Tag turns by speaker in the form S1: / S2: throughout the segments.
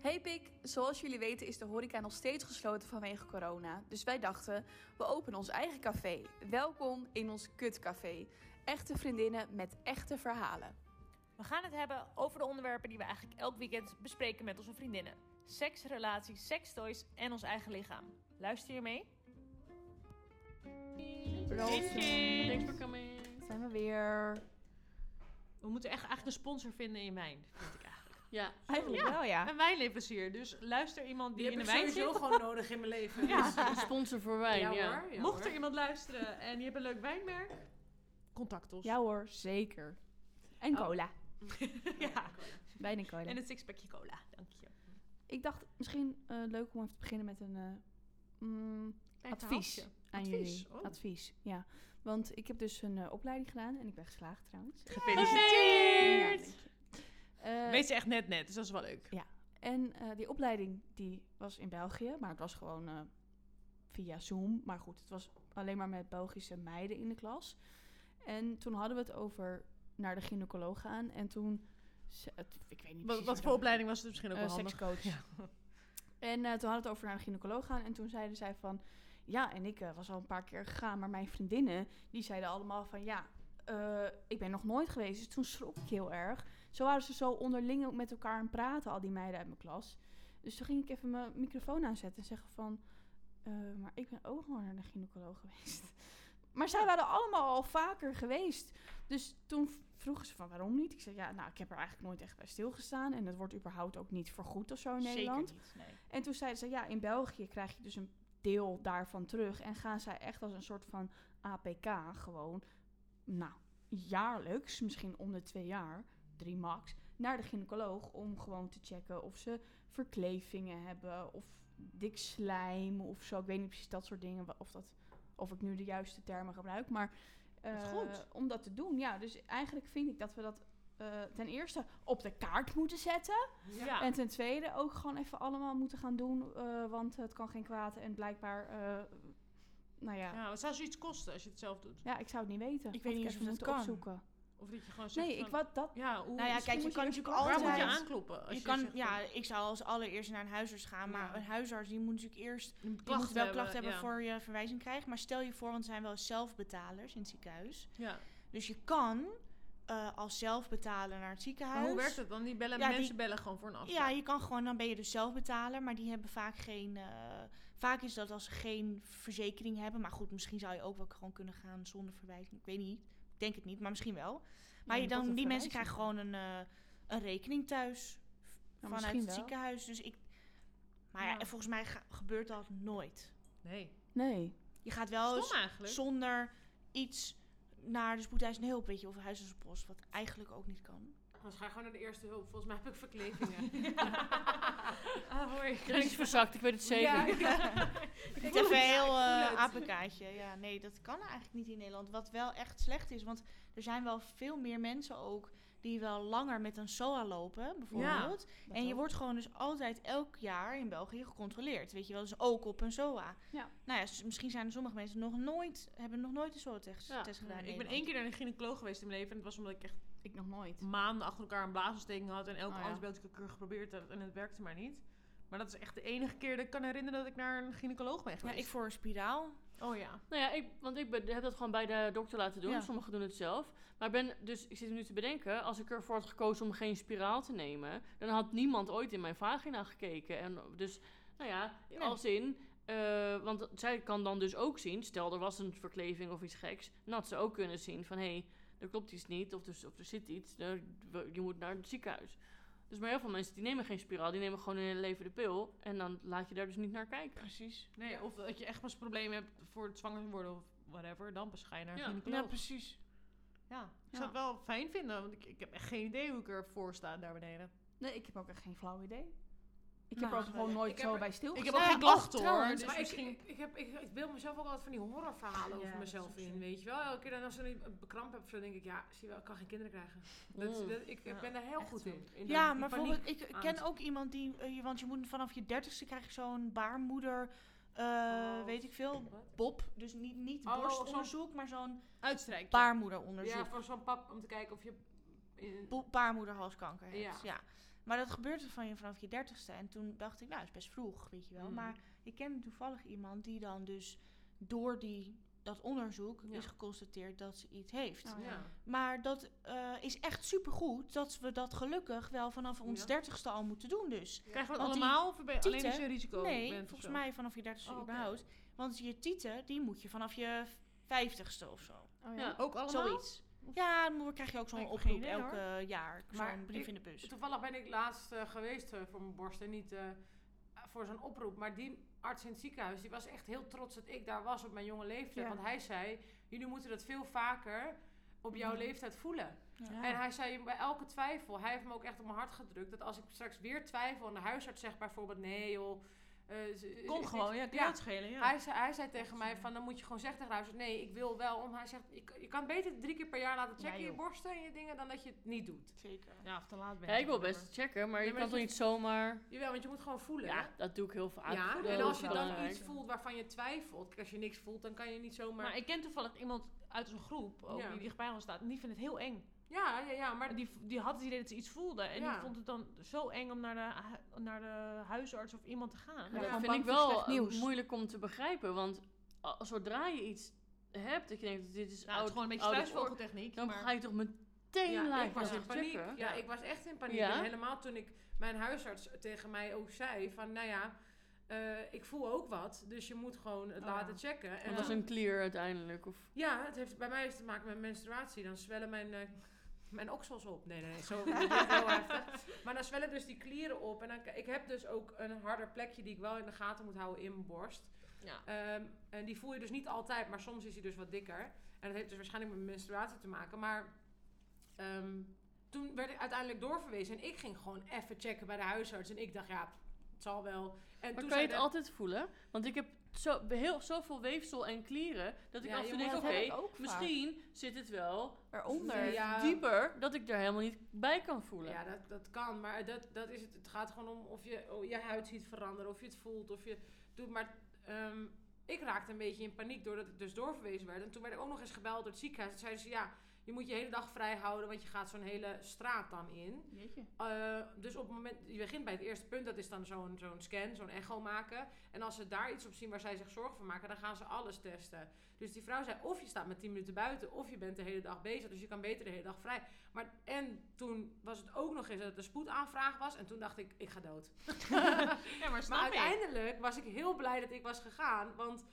S1: Hey Pik, zoals jullie weten is de horeca nog steeds gesloten vanwege corona. Dus wij dachten, we openen ons eigen café. Welkom in ons kutcafé. Echte vriendinnen met echte verhalen.
S2: We gaan het hebben over de onderwerpen die we eigenlijk elk weekend bespreken met onze vriendinnen: seks, relaties, sekstoys en ons eigen lichaam. Luister je mee?
S3: Thanks for coming.
S1: Zijn we weer?
S3: We moeten echt, eigenlijk een sponsor vinden in wijn, vind ik eigenlijk.
S4: Ja,
S1: Eigenlijk wel ja.
S3: Een wijnleverancier, dus luister iemand die,
S5: Die
S3: in
S5: heb
S3: de
S5: ik
S3: wijn
S5: sowieso
S3: zit.
S5: gewoon nodig in mijn leven. Dus-
S3: Ja.
S4: een sponsor voor wijn, ja.
S3: Mocht er iemand luisteren en die hebben een leuk wijnmerk, contact ons.
S1: Ja hoor, zeker. En
S3: Oh.
S1: cola.
S3: Ja.
S1: Bijna cola.
S3: En een sixpackje cola, dank je.
S1: Ik dacht misschien eh, leuk om even te beginnen met een eh, mm, advies
S3: verhaaltje.
S1: aan
S3: Advies,
S1: jullie.
S3: oh.
S1: Advies, ja. Want ik heb dus een eh, opleiding gedaan en ik ben geslaagd trouwens. Ja, dank
S3: Gefeliciteerd!
S1: je. Eh,
S3: Wees je echt net net, dus dat is wel leuk.
S1: En eh, die opleiding die was in België, maar het was gewoon eh, via Zoom. Maar goed, het was alleen maar met Belgische meiden in de klas. En toen hadden we het over naar de gynaecoloog gaan. En toen, ze- het- ik weet niet
S3: Wat,
S1: precies
S3: wat
S1: waar
S3: voor
S1: dat-
S3: opleiding was het misschien ook
S1: eh,
S3: wel handig?
S1: sekscoach.
S3: Ja.
S1: En eh, toen hadden we het over naar de gynaecoloog gaan. En toen zeiden zij van... Ja, en ik eh, was al een paar keer gegaan. Maar mijn vriendinnen, die zeiden allemaal van... Ja, eh, ik ben nog nooit geweest. Dus toen schrok ik heel erg. Zo waren ze zo onderling ook met elkaar aan het praten. Al die meiden uit mijn klas. Dus toen ging ik even mijn microfoon aanzetten. En zeggen van... eh, maar ik ben ook gewoon naar de gynaecoloog geweest. Maar zij waren allemaal al vaker geweest. Dus toen v- vroegen ze van waarom niet. Ik zei ja, nou ik heb er eigenlijk nooit echt bij stilgestaan. En het wordt überhaupt ook niet vergoed of zo in Nederland.
S3: Zeker niet, nee.
S1: En toen zeiden ze, ja, in België krijg je dus een deel daarvan terug. En gaan zij echt als een soort van APK gewoon, nou, jaarlijks, misschien om de twee jaar, drie max, naar de gynaecoloog om gewoon te checken of ze verklevingen hebben of dik slijm of zo. Ik weet niet precies dat soort dingen, wa- of, dat, of ik nu de juiste termen gebruik, maar eh,
S3: goed.
S1: om dat te doen, ja. Dus eigenlijk vind ik dat we dat eh, ten eerste op de kaart moeten zetten.
S3: Ja.
S1: En ten tweede ook gewoon even allemaal moeten gaan doen, eh, want het kan geen kwaad. En blijkbaar, eh, nou ja. ja.
S3: Ja, wat zou zoiets kosten als je het zelf doet?
S1: ik zou het niet weten.
S4: Ik weet
S1: Had
S4: niet
S1: ik
S4: eens
S1: even
S4: of
S1: moeten
S4: dat kan.
S1: opzoeken.
S3: Of dat je gewoon zegt
S1: Nee, ik
S3: van,
S1: wat dat.
S3: Ja, hoe,
S4: Nou ja,
S1: misschien
S4: kijk, je
S1: moet je
S4: kan
S1: eerst
S4: natuurlijk
S1: je
S3: waar
S4: altijd...
S3: moet je
S1: altijd-
S3: aankloppen? Als
S4: Je
S3: je
S4: kan,
S3: zegt van,
S4: ja, ik zou als allereerst naar een huisarts gaan, maar
S3: Ja.
S4: een huisarts die moet natuurlijk eerst...
S3: je moet
S4: Je moet wel klachten
S3: hebben,
S4: hebben
S3: ja.
S4: voor je verwijzing krijgt, maar stel je voor, want er zijn wel zelfbetalers in het ziekenhuis.
S3: Ja.
S4: Dus je kan eh, als zelfbetaler naar het
S3: Maar
S4: ziekenhuis.
S3: hoe werkt dat dan? Die bellen,
S4: Ja, die-
S3: mensen bellen gewoon voor een afspraak.
S4: Ja, je kan gewoon, dan ben je dus zelfbetaler, maar die hebben vaak geen. eh, vaak is dat als ze geen verzekering hebben. Maar goed, misschien zou je ook wel gewoon kunnen gaan zonder verwijzing. Ik weet niet. Ik denk het niet, maar misschien wel. Maar
S1: Ja,
S4: je
S1: wat
S4: dan,
S1: een
S4: die mensen
S1: verwijzing.
S4: krijgen gewoon een, eh, een rekening thuis v- vanuit
S1: Nou, misschien
S4: het
S1: wel.
S4: ziekenhuis. Dus ik. Maar ja,
S3: Ja.
S4: volgens mij ga- gebeurt dat nooit.
S3: Nee.
S1: Nee.
S4: Je gaat wel
S3: Stom eigenlijk.
S4: zonder iets naar de spoedeisende hulp, weet je, of huisartsenpost, wat eigenlijk ook niet kan.
S5: Dan ga je gewoon naar de eerste hulp. Volgens mij heb ik verklevingen.
S3: Ah, hoor je.
S6: Er is iets verzakt, ik weet het zeker.
S3: Ja,
S4: Het is even een heel eh,
S3: voel het.
S4: apenkaartje. Ja, nee, dat kan eigenlijk niet in Nederland. Wat wel echt slecht is, want er zijn wel veel meer mensen ook die wel langer met een SOA lopen, bijvoorbeeld. en je wordt gewoon dus altijd elk jaar in België gecontroleerd, weet je wel, dus ook op een SOA.
S1: Ja.
S4: Nou ja, s- misschien zijn er sommige mensen nog nooit, hebben nog nooit een SOA-test
S5: Ja,
S4: test gedaan.
S3: Ik
S4: in
S3: ben
S4: Nederland.
S3: één keer naar de gynaecoloog geweest in mijn leven. En dat was omdat ik echt
S1: Ik nog nooit.
S3: maanden achter elkaar een blaasontsteking had. En elke
S1: Oh ja.
S3: antibiotica keur geprobeerd had. En het werkte maar niet. Maar dat is echt de enige keer dat ik kan herinneren dat ik naar een gynaecoloog ben
S4: Ja,
S3: geweest.
S4: ik voor een spiraal.
S3: Oh ja.
S6: Nou ja, ik, want ik ben, heb dat gewoon bij de dokter laten doen.
S4: Ja.
S6: Sommigen doen het zelf. Maar ben, dus ik zit nu te bedenken, als ik ervoor had gekozen om geen spiraal te nemen, dan had niemand ooit in mijn vagina gekeken. En dus, nou ja, als in. eh, want zij kan dan dus ook zien, stel er was een verkleving of iets geks, dan had ze ook kunnen zien van hé, hey, er klopt iets niet of, dus, of er zit iets, eh, we- je moet naar het ziekenhuis. Dus maar heel veel mensen die nemen geen spiraal, die nemen gewoon hun hele leven de pil en dan laat je daar dus niet naar kijken.
S4: Precies.
S3: Nee, of dat je echt pas problemen hebt voor het zwanger worden of whatever. Dan pas ga je naar een
S6: Ja.
S3: gynaecoloog.
S4: Ja, precies.
S3: Ja, ik zou het wel fijn vinden, want ik, ik heb echt geen idee hoe ik ervoor sta daar beneden.
S1: Nee, ik heb ook echt geen flauw idee. Ik
S3: Nou,
S1: heb er ook gewoon nooit
S5: ik heb
S1: zo
S5: er-
S1: bij stil.
S3: Ik heb ook geen klachten hoor.
S1: trouwens,
S3: Dus
S5: maar
S3: misschien...
S5: ik, ik, ik, heb, ik, ik beeld mezelf ook altijd van die horrorverhalen
S1: Ah, Ja,
S5: over
S1: dat
S5: mezelf
S1: is ook
S5: in,
S1: zo.
S5: weet je wel. Elke keer dan als ik een bekramp heb, zo denk ik, ja, zie je wel, ik kan geen kinderen krijgen. Dat, is-
S6: Mm.
S5: dat- ik, ik ben daar heel
S3: Echt
S5: goed
S3: zo.
S5: in. in
S4: Ja,
S5: die
S4: maar
S5: paniek.
S4: bijvoorbeeld, ik, ik ken
S5: angst.
S4: ook iemand die, eh, je- want je moet vanaf je dertigste krijg je zo'n baarmoeder, eh,
S5: Oh.
S4: weet ik veel,
S5: Wat?
S4: Bob, dus niet, niet
S5: Oh,
S4: borstonderzoek, maar zo'n
S3: Uitstrijken.
S4: baarmoederonderzoek.
S5: Ja, voor zo'n pap om te kijken of je... in-
S4: Bo- baarmoederhalskanker hebt.
S5: Ja.
S4: Ja. Maar dat gebeurt van je vanaf je dertigste. En toen dacht ik, nou, is best vroeg, weet je wel.
S5: Mhm.
S4: Maar ik kende toevallig iemand die dan dus door die, dat onderzoek
S5: Ja.
S4: is geconstateerd dat ze iets heeft.
S1: Oh, ja.
S4: Maar dat eh, is echt supergoed dat we dat gelukkig wel vanaf ons
S5: Ja.
S4: dertigste al moeten doen dus.
S3: Krijgen we dat
S4: Want die
S3: allemaal of ben je alleen
S4: tieten-
S3: als je een risico
S4: nee,
S3: bent of
S4: volgens
S3: zo?
S4: mij vanaf je dertigste
S5: Oh, oké.
S4: überhaupt. Want je tieten, die moet je vanaf je vijftigste of zo.
S1: Oh,
S6: Ja.
S1: ja.
S3: Ook allemaal?
S4: Zoiets. Ja, dan krijg je ook zo'n
S3: Ik heb
S4: oproep
S3: geen idee,
S4: elk eh, jaar.
S5: Maar
S4: Zo'n brief
S5: ik-
S4: in de bus.
S5: Toevallig ben ik laatst eh, geweest eh, voor mijn borst en niet eh, voor zo'n oproep. Maar die arts in het ziekenhuis die was echt heel trots dat ik daar was op mijn jonge leeftijd.
S1: Ja.
S5: Want hij zei, jullie moeten dat veel vaker op jouw
S1: Mm.
S4: Ja.
S5: leeftijd voelen.
S1: Ja.
S5: En hij zei bij elke twijfel, hij heeft me ook echt op mijn hart gedrukt. Dat als ik straks weer twijfel en de huisarts zegt bijvoorbeeld nee joh. eh, ze- ze- is
S3: Kom
S5: dit-
S3: gewoon, ja, kan
S5: Ja.
S3: het schelen, ja.
S5: Hij, zei, hij zei tegen mij van, dan moet je gewoon zeggen tegen de huisarts, nee ik wil wel. Om hij zegt, je, kan- je kan beter drie keer per jaar laten checken je
S4: joh.
S5: borsten en je dingen dan dat je het niet doet.
S4: Zeker.
S3: Ja, of te laat ben
S6: Ja,
S3: je,
S6: ik wil
S3: zeg
S6: best checken, maar
S5: Ja,
S6: je
S5: maar
S6: kan
S5: dat
S6: toch
S5: is-
S6: niet zomaar...
S5: Jawel, want je moet gewoon voelen. hè?
S6: Ja, dat doe ik heel vaak.
S5: Ja,
S6: Voelen
S5: en
S6: is
S5: als je dan
S6: belangrijk.
S5: iets voelt waarvan je twijfelt, kijk, als je niks voelt, dan kan je niet
S3: maar.
S5: zomaar.
S3: Maar ik ken toevallig iemand uit onze groep, ook,
S5: Ja.
S3: die dichtbij ons staat, en die vindt het heel eng.
S5: ja, ja, ja, maar
S3: Maar die, v- die had het idee dat ze iets voelde. En
S5: Ja.
S3: die vond het dan zo eng om naar de, hu- naar de huisarts of iemand te gaan.
S6: Ja,
S5: Ja,
S6: dat
S1: gewoon
S6: vind
S1: bang
S6: ik
S1: voor
S6: wel
S1: slecht
S6: eh,
S1: nieuws.
S6: moeilijk om te begrijpen. Want a- zodra je iets hebt dat je denkt, dit is
S3: Nou, het is
S6: oud,
S3: gewoon een beetje
S6: oude
S3: struisvogeltechniek.
S6: dan
S3: maar-
S6: ga je toch meteen
S5: ja,
S6: live
S5: ik was
S6: gaan
S5: in paniek.
S6: checken.
S5: Ja, ik was echt in paniek.
S6: Ja?
S5: En helemaal toen ik mijn huisarts tegen mij ook zei van, nou ja, eh, ik voel ook wat, dus je moet gewoon het
S3: Oh.
S5: laten checken. En
S6: Dat was
S5: dan-
S6: een clear uiteindelijk. Of,
S5: Ja, het heeft bij mij heeft het te maken met menstruatie. Dan zwellen mijn, eh, mijn oksels op. Nee, nee, nee, zo dat is heel heftig. Maar dan zwellen dus die klieren op. En dan, k- ik heb dus ook een harder plekje die ik wel in de gaten moet houden in mijn borst.
S3: Ja.
S5: Ehm, en die voel je dus niet altijd, maar soms is hij dus wat dikker. En dat heeft dus waarschijnlijk met menstruatie te maken. Maar ehm, toen werd ik uiteindelijk doorverwezen. En ik ging gewoon even checken bij de huisarts. En ik dacht, ja, het zal wel. En
S6: maar
S5: toen
S6: kan
S5: zei
S6: je het
S5: de-
S6: altijd voelen? Want ik heb zo, heel, zoveel weefsel en klieren dat ik
S5: Ja,
S6: af en toe
S5: je
S6: denk,
S5: moet-
S6: oké,
S1: dat heb ik ook vaak.
S6: misschien zit het wel
S1: Eronder.
S5: Ja.
S6: dieper dat ik daar helemaal niet bij kan voelen.
S5: Ja, dat, dat kan, maar dat, dat is het. Het gaat gewoon om of je oh, je huid ziet veranderen, of je het voelt, of je het doet. Maar ehm, ik raakte een beetje in paniek doordat ik dus doorverwezen werd. En toen werd ik ook nog eens gebeld door het ziekenhuis. Toen zeiden ze, ja, je moet je hele dag vrij houden, want je gaat zo'n hele straat dan in.
S1: Jeetje.
S5: Eh, dus op het moment, je begint bij het eerste punt, dat is dan zo'n zo'n scan, zo'n echo maken. En als ze daar iets op zien waar zij zich zorgen voor maken, dan gaan ze alles testen. Dus die vrouw zei, of je staat met 10 minuten buiten, of je bent de hele dag bezig, dus je kan beter de hele dag vrij. Maar, en toen was het ook nog eens dat het een spoedaanvraag was, en toen dacht ik, ik ga dood.
S3: Ja, maar
S5: maar
S3: snap je?
S5: uiteindelijk was ik heel blij dat ik was gegaan, want...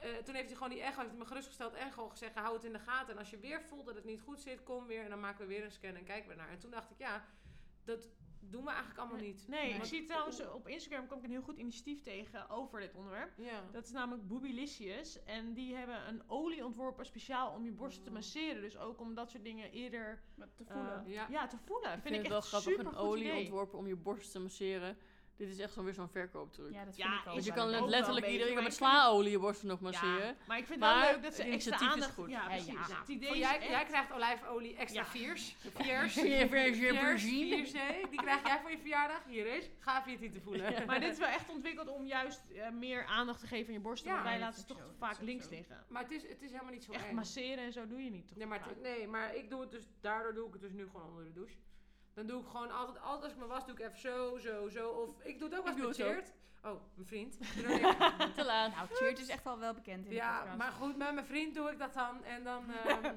S5: eh, toen heeft hij gewoon die echo, heeft hij me gerustgesteld en gewoon gezegd, hou het in de gaten. En als je weer voelt dat het niet goed zit, kom weer en dan maken we weer een scan en kijken we naar. En toen dacht ik, ja, dat doen we eigenlijk allemaal niet.
S3: Nee, ik
S1: Nee.
S3: zie trouwens eh, op Instagram kwam ik een heel goed initiatief tegen over dit onderwerp.
S5: Ja.
S3: Dat is namelijk Boobylicious. En die hebben een olie ontworpen speciaal om je borsten te
S5: Oh.
S3: masseren. Dus ook om dat soort dingen eerder
S1: Met te
S3: eh,
S1: voelen.
S5: Ja.
S3: ja. te voelen.
S6: ik vind, het wel
S3: echt
S6: grappig, een
S3: supergoed
S6: olie
S3: idee.
S6: ontworpen om je borst te masseren. Dit is echt zo weer zo'n verkooptruc.
S1: Ja, dat
S3: Ja,
S1: vind ik ook.
S6: Dus je
S3: Oh,
S1: wel.
S6: kan let-
S3: dat ook wel
S6: letterlijk
S3: een
S6: iedereen je kan
S3: beetje,
S6: met
S3: maar ik vind-
S6: slaolie je borsten nog masseren.
S3: Ja, maar ik vind het
S6: Maar
S3: wel leuk dat ze
S6: het
S3: extra
S6: initiatief is
S3: aandacht...
S6: goed.
S3: Ja,
S1: Ja,
S3: precies.
S1: ja.
S3: Het idee
S5: Voor
S3: is
S5: jij,
S3: echt-
S5: jij krijgt olijfolie extra
S3: Ja.
S5: viers. Viers.
S6: Vier viers, vier
S5: Viers,
S6: virgin.
S5: viers, hè. Die krijg jij voor je verjaardag. Hier is. Gaaf je het niet te voelen.
S3: Maar dit is wel echt ontwikkeld om juist eh, meer aandacht te geven aan je borsten.
S5: Ja,
S3: want wij
S1: dat
S3: laten ze
S1: is ook
S3: toch
S1: zo, dat
S3: vaak
S1: is ook
S3: links
S1: zo.
S3: liggen.
S5: Maar het is, het is helemaal niet zo
S3: Echt
S5: eng.
S3: masseren en zo doe je niet toch?
S5: Nee maar,
S3: vaak?
S5: het- nee, maar ik doe het dus, daardoor doe ik het dus nu gewoon onder de douche. Dan doe ik gewoon altijd, altijd als ik me was, doe ik even zo, zo, zo. Of ik doe het ook
S6: Ik
S5: als met
S6: doe het
S5: Cheert. Oh, mijn vriend. Ik doe het ook-
S6: Te laat.
S1: Nou, Cheert is echt al wel bekend in de
S5: Ja,
S1: podcast.
S5: maar goed, met mijn vriend doe ik dat dan. En dan, ehm,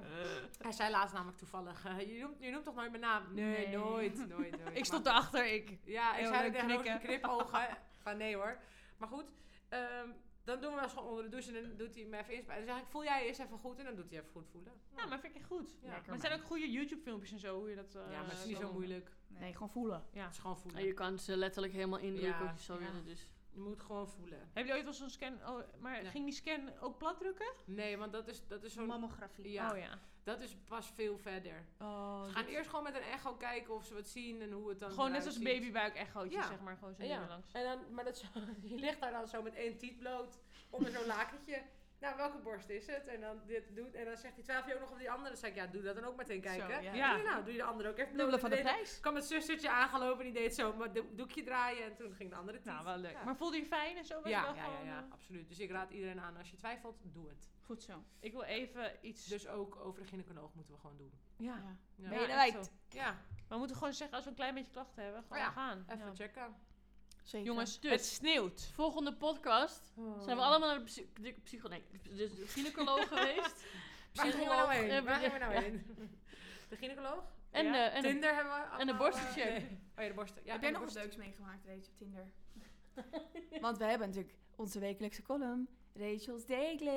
S5: hij zei laatst namelijk toevallig, eh, je, noemt, je noemt toch nooit mijn naam? Nee,
S1: Nee.
S5: nooit, nooit, nooit.
S3: Ik
S5: Maar-
S3: stond erachter, ik.
S5: Ja, ik
S3: Heel
S5: zei
S3: leuk
S5: tegen knikken.
S3: knikken.
S5: knipogen. Van nee hoor. Maar goed, ehm, dan doen we wel eens gewoon onder de douche en dan doet hij me even inspuiten. Dan zeg ik, voel jij eerst even goed en dan doet hij even goed voelen.
S3: Ja, maar vind ik echt goed.
S5: Ja.
S3: Maar het zijn ook goede YouTube-filmpjes en zo, hoe je dat... eh,
S5: ja, maar het is niet
S3: kan
S5: zo
S3: doen.
S5: moeilijk.
S1: Nee, gewoon voelen.
S3: Ja.
S5: Het is gewoon
S6: Ja,
S5: voelen.
S6: je kan ze letterlijk helemaal indrukken
S5: Ja.
S6: als je zou
S5: Ja.
S6: willen. Dus.
S5: Je moet gewoon voelen.
S3: Hebben jullie ooit wel zo'n scan... Oh, maar
S5: Ja.
S3: ging die scan ook plat drukken?
S5: Nee, want dat is, dat is zo'n...
S4: Mammografie.
S5: Ja,
S3: Oh ja.
S5: dat is pas veel verder.
S3: Oh,
S5: Ze gaan eerst gewoon met een echo kijken of ze wat zien en hoe het dan
S3: gewoon net
S5: eruit
S3: als
S5: ziet.
S3: babybuik-echootjes,
S5: Ja.
S3: zeg maar. Gewoon zo
S5: Ja.
S3: dingen langs.
S5: En dan, maar dat zo, je ligt daar dan zo met één tiet bloot onder zo'n lakentje. nou, welke borst is het? En dan, dit doet, en dan zegt die 12 jaar ook nog op die andere. Dan zei ik, ja, doe dat dan ook meteen kijken.
S4: Zo, ja.
S5: Ja. nou, doe je de andere ook even.
S1: Dubbele van de
S5: Ik deed-
S1: prijs.
S5: kwam het zustertje aangelopen en die deed zo maar do- doekje draaien. En toen ging de andere tiet.
S3: Nou, wel leuk.
S5: Ja.
S3: Maar voelde je fijn en zo? Was
S5: ja,
S3: het wel
S5: ja, ja,
S3: gewoon,
S5: ja,
S3: eh,
S5: absoluut. Dus ik raad iedereen aan, als je twijfelt, doe het.
S1: Goed zo.
S3: Ik wil even iets...
S5: Dus ook over de gynaecoloog moeten we gewoon doen.
S3: ja.
S1: Ja.
S5: Ja,
S1: Ben je
S3: echt
S1: eruit?
S3: zo.
S5: ja
S3: Maar we moeten gewoon zeggen, als we een klein beetje klachten hebben, gewoon
S5: Ja,
S3: gaan.
S5: even
S3: Ja.
S5: checken.
S1: Zeker.
S3: Jongens,
S6: Dus-
S3: het sneeuwt.
S6: Volgende podcast
S5: Oh.
S6: zijn we
S3: Oh.
S6: allemaal naar de, psy de psycho- nee, dus de gynaecoloog geweest.
S5: Waar gingen we nou
S6: Psycholoog,
S5: heen?
S6: eh,
S5: Waar gingen we nou
S6: ja.
S5: heen? De gynaecoloog?
S6: En,
S3: Ja.
S6: eh, en de-
S5: Tinder hebben we
S6: en de
S5: allemaal,
S6: borstencheck.
S5: eh, nee. Oh ja, de borsten. Ja,
S1: heb
S5: en
S1: jij
S5: de
S1: nog iets
S5: borsten.
S1: leuks meegemaakt, Rachel, op Tinder? Want we hebben natuurlijk onze wekelijkse column, Rachel's Daily.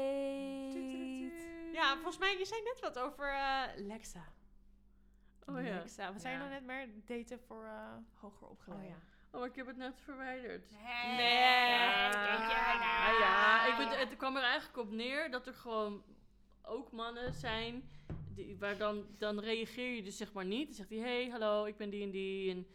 S3: Ja, volgens mij, je zei net wat over eh, Lexa.
S6: Oh ja.
S3: Lexa. Wat zei je
S5: Ja.
S3: nou net meer? Daten voor... eh,
S1: Hoger opgeleid.
S3: oh ja.
S6: Oh, maar ik heb het net verwijderd.
S2: Nee,
S6: kijk jij nou ja, ik ben, het kwam er eigenlijk op neer dat er gewoon ook mannen zijn. Die, waar dan, dan reageer je dus zeg maar niet. Dan zegt hij, hey, hallo, ik ben die en die. En,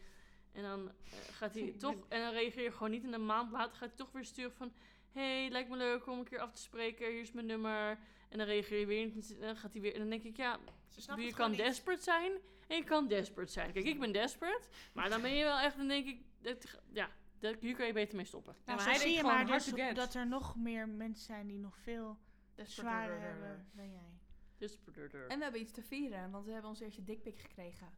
S6: en dan eh, gaat hij toch... En dan reageer je gewoon niet. En een maand later gaat hij toch weer sturen van... hey, lijkt me leuk om een keer af te spreken. Hier is mijn nummer. En dan reageer je weer niet. En dan gaat hij weer... En dan denk ik, ja,
S4: Ze snapt
S6: je
S4: het
S6: kan
S4: gewoon niet.
S6: desperate zijn en je kan desperate zijn. Kijk, ik ben desperate, maar dan ben je wel echt, dan denk ik, dat, ja, dat, hier kan je beter mee stoppen.
S4: Nou,
S3: maar
S4: zo
S3: hij
S4: zie
S3: denkt
S4: je
S3: gewoon
S4: maar
S3: hard
S4: dus
S3: to get.
S4: dat er nog meer mensen zijn die nog veel zwaarder
S3: eh,
S1: eh,
S4: hebben dan jij.
S6: Dus,
S1: En we hebben iets te vieren, want we hebben ons eerste dikpik gekregen.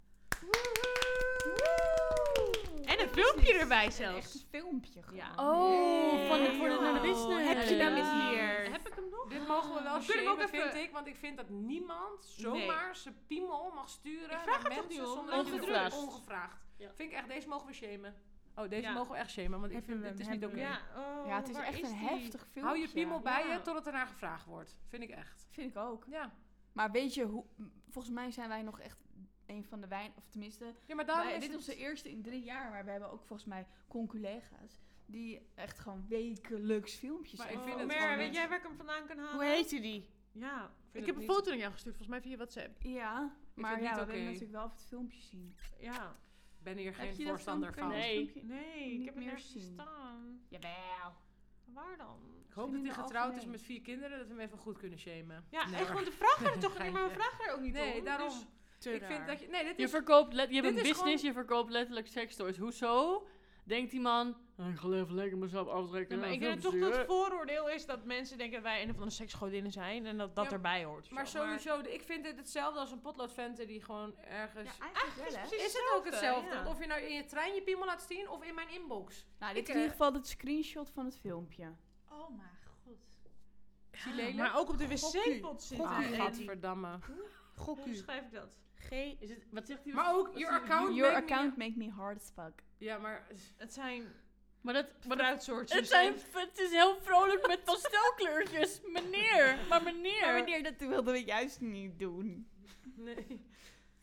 S3: En een filmpje erbij
S1: En echt
S3: zelfs.
S1: een filmpje gewoon.
S3: Ja.
S6: oh, van de, voor de,
S1: Wow.
S6: naar de business.
S1: Heb je
S4: nou
S1: hem
S6: Ja.
S1: hier?
S3: Heb ik hem nog?
S5: Dit mogen we wel
S3: We kunnen hem ook
S5: shamen, vind
S3: even-
S5: ik. Want ik vind dat niemand zomaar zijn piemel mag sturen
S3: Ik vraag
S5: naar
S3: het toch
S5: mensen
S3: niet om?
S5: zonder dat je ervoor-
S6: Ongevraagd.
S5: ongevraagd.
S6: Ja.
S5: Vind ik echt, deze mogen we shamen. Oh, deze
S3: Ja.
S5: mogen we echt shamen, want ik
S4: Hebben
S5: vind
S4: we
S5: dit is
S4: hem,
S5: niet oké.
S4: hebben we
S3: Ja, oh,
S1: Ja, het is
S3: waar
S1: echt een
S3: die?
S1: heftig filmpje.
S5: Hou je piemel bij
S3: Ja.
S5: je totdat er naar gevraagd wordt. Vind ik echt.
S1: Vind ik ook.
S5: Ja,
S1: Maar weet je, hoe, m, volgens mij zijn wij nog echt een van de weinig, of tenminste,
S5: ja maar daarom
S1: wij-
S5: is
S1: dit is
S5: het-
S1: onze eerste in drie jaar, maar we hebben ook volgens mij conculega's die echt gewoon wekelijks filmpjes
S5: Maar ik
S1: hebben.
S5: vind
S3: Oh,
S5: het
S3: Mer,
S5: gewoon
S3: weet
S5: niet-
S3: jij waar ik hem vandaan kan halen?
S4: Hoe heette die?
S3: Ja, ik,
S5: het
S3: heb een
S5: niet-
S3: foto naar jou gestuurd, volgens mij via WhatsApp.
S1: Ja, maar
S5: het
S1: ja,
S5: niet
S1: we
S5: oké.
S1: willen natuurlijk wel even het filmpje zien.
S3: Ja.
S5: Ik ben hier
S1: Heb
S5: geen
S1: je dat
S5: voorstander
S1: filmpje?
S5: van.
S6: Nee.
S3: Nee,
S1: Niet
S3: ik heb hem
S1: meer
S3: nergens
S1: zien.
S3: staan.
S1: Jawel.
S3: Waar dan?
S5: Ik hoop
S1: Vind
S5: dat
S1: je
S5: hij
S1: nou
S5: getrouwd is
S1: algemeen?
S5: met vier kinderen, dat we hem even goed kunnen shamen.
S3: Ja,
S5: Nee,
S3: en
S5: hoor.
S3: gewoon de vraag er toch niet,
S5: Geintje.
S3: maar we vragen er ook niet om.
S5: Nee, daarom.
S3: dus-
S5: ik vind dat je... Nee, dit
S6: Je
S5: is...
S6: verkoopt, let, je hebt
S5: Dit
S6: een
S5: is
S6: business, je verkoopt letterlijk sextoys. Hoezo? Denkt die man, "Ah, ik ga even lekker mezelf aftrekken.
S3: Ja, maar
S6: en
S3: ik
S6: een
S3: denk toch
S6: filmpje
S3: dat het
S6: sturen."
S3: vooroordeel is dat mensen denken dat wij een of andere seksgodinnen zijn en dat dat
S5: Ja,
S3: erbij hoort. of
S5: Maar
S3: zo.
S5: sowieso, de- ik vind dit hetzelfde als een potloodventer die gewoon ergens...
S1: Ja, eigenlijk wel, hè?
S3: precies
S5: is het ook hetzelfde?
S3: ja.
S5: Of je nou in je trein je piemel laat zien of in mijn inbox.
S1: Nou, dit is
S5: Ik,
S1: in ieder
S5: eh,
S1: geval het screenshot van het filmpje.
S4: Oh mijn god.
S5: Is die lelijk?
S3: Maar ook op de
S4: Gokkie.
S3: wc-pot zit
S4: Gokkie.
S3: hij.
S5: Ah,
S4: Eddie.
S5: gadverdamme.
S3: Hoe
S4: Gokkie.
S3: schrijf ik dat?
S4: G.
S6: Is het, wat zegt hij?
S5: Maar ook, your account
S1: Your
S5: made me-
S1: account make me hard as fuck.
S5: Ja, maar...
S3: Het zijn
S6: Maar dat,
S3: fruitsoortjes.
S6: het, zijn, het is heel vrolijk met pastelkleurtjes. Meneer, maar meneer.
S1: Maar meneer, dat wilden we juist niet doen.
S5: Nee. Het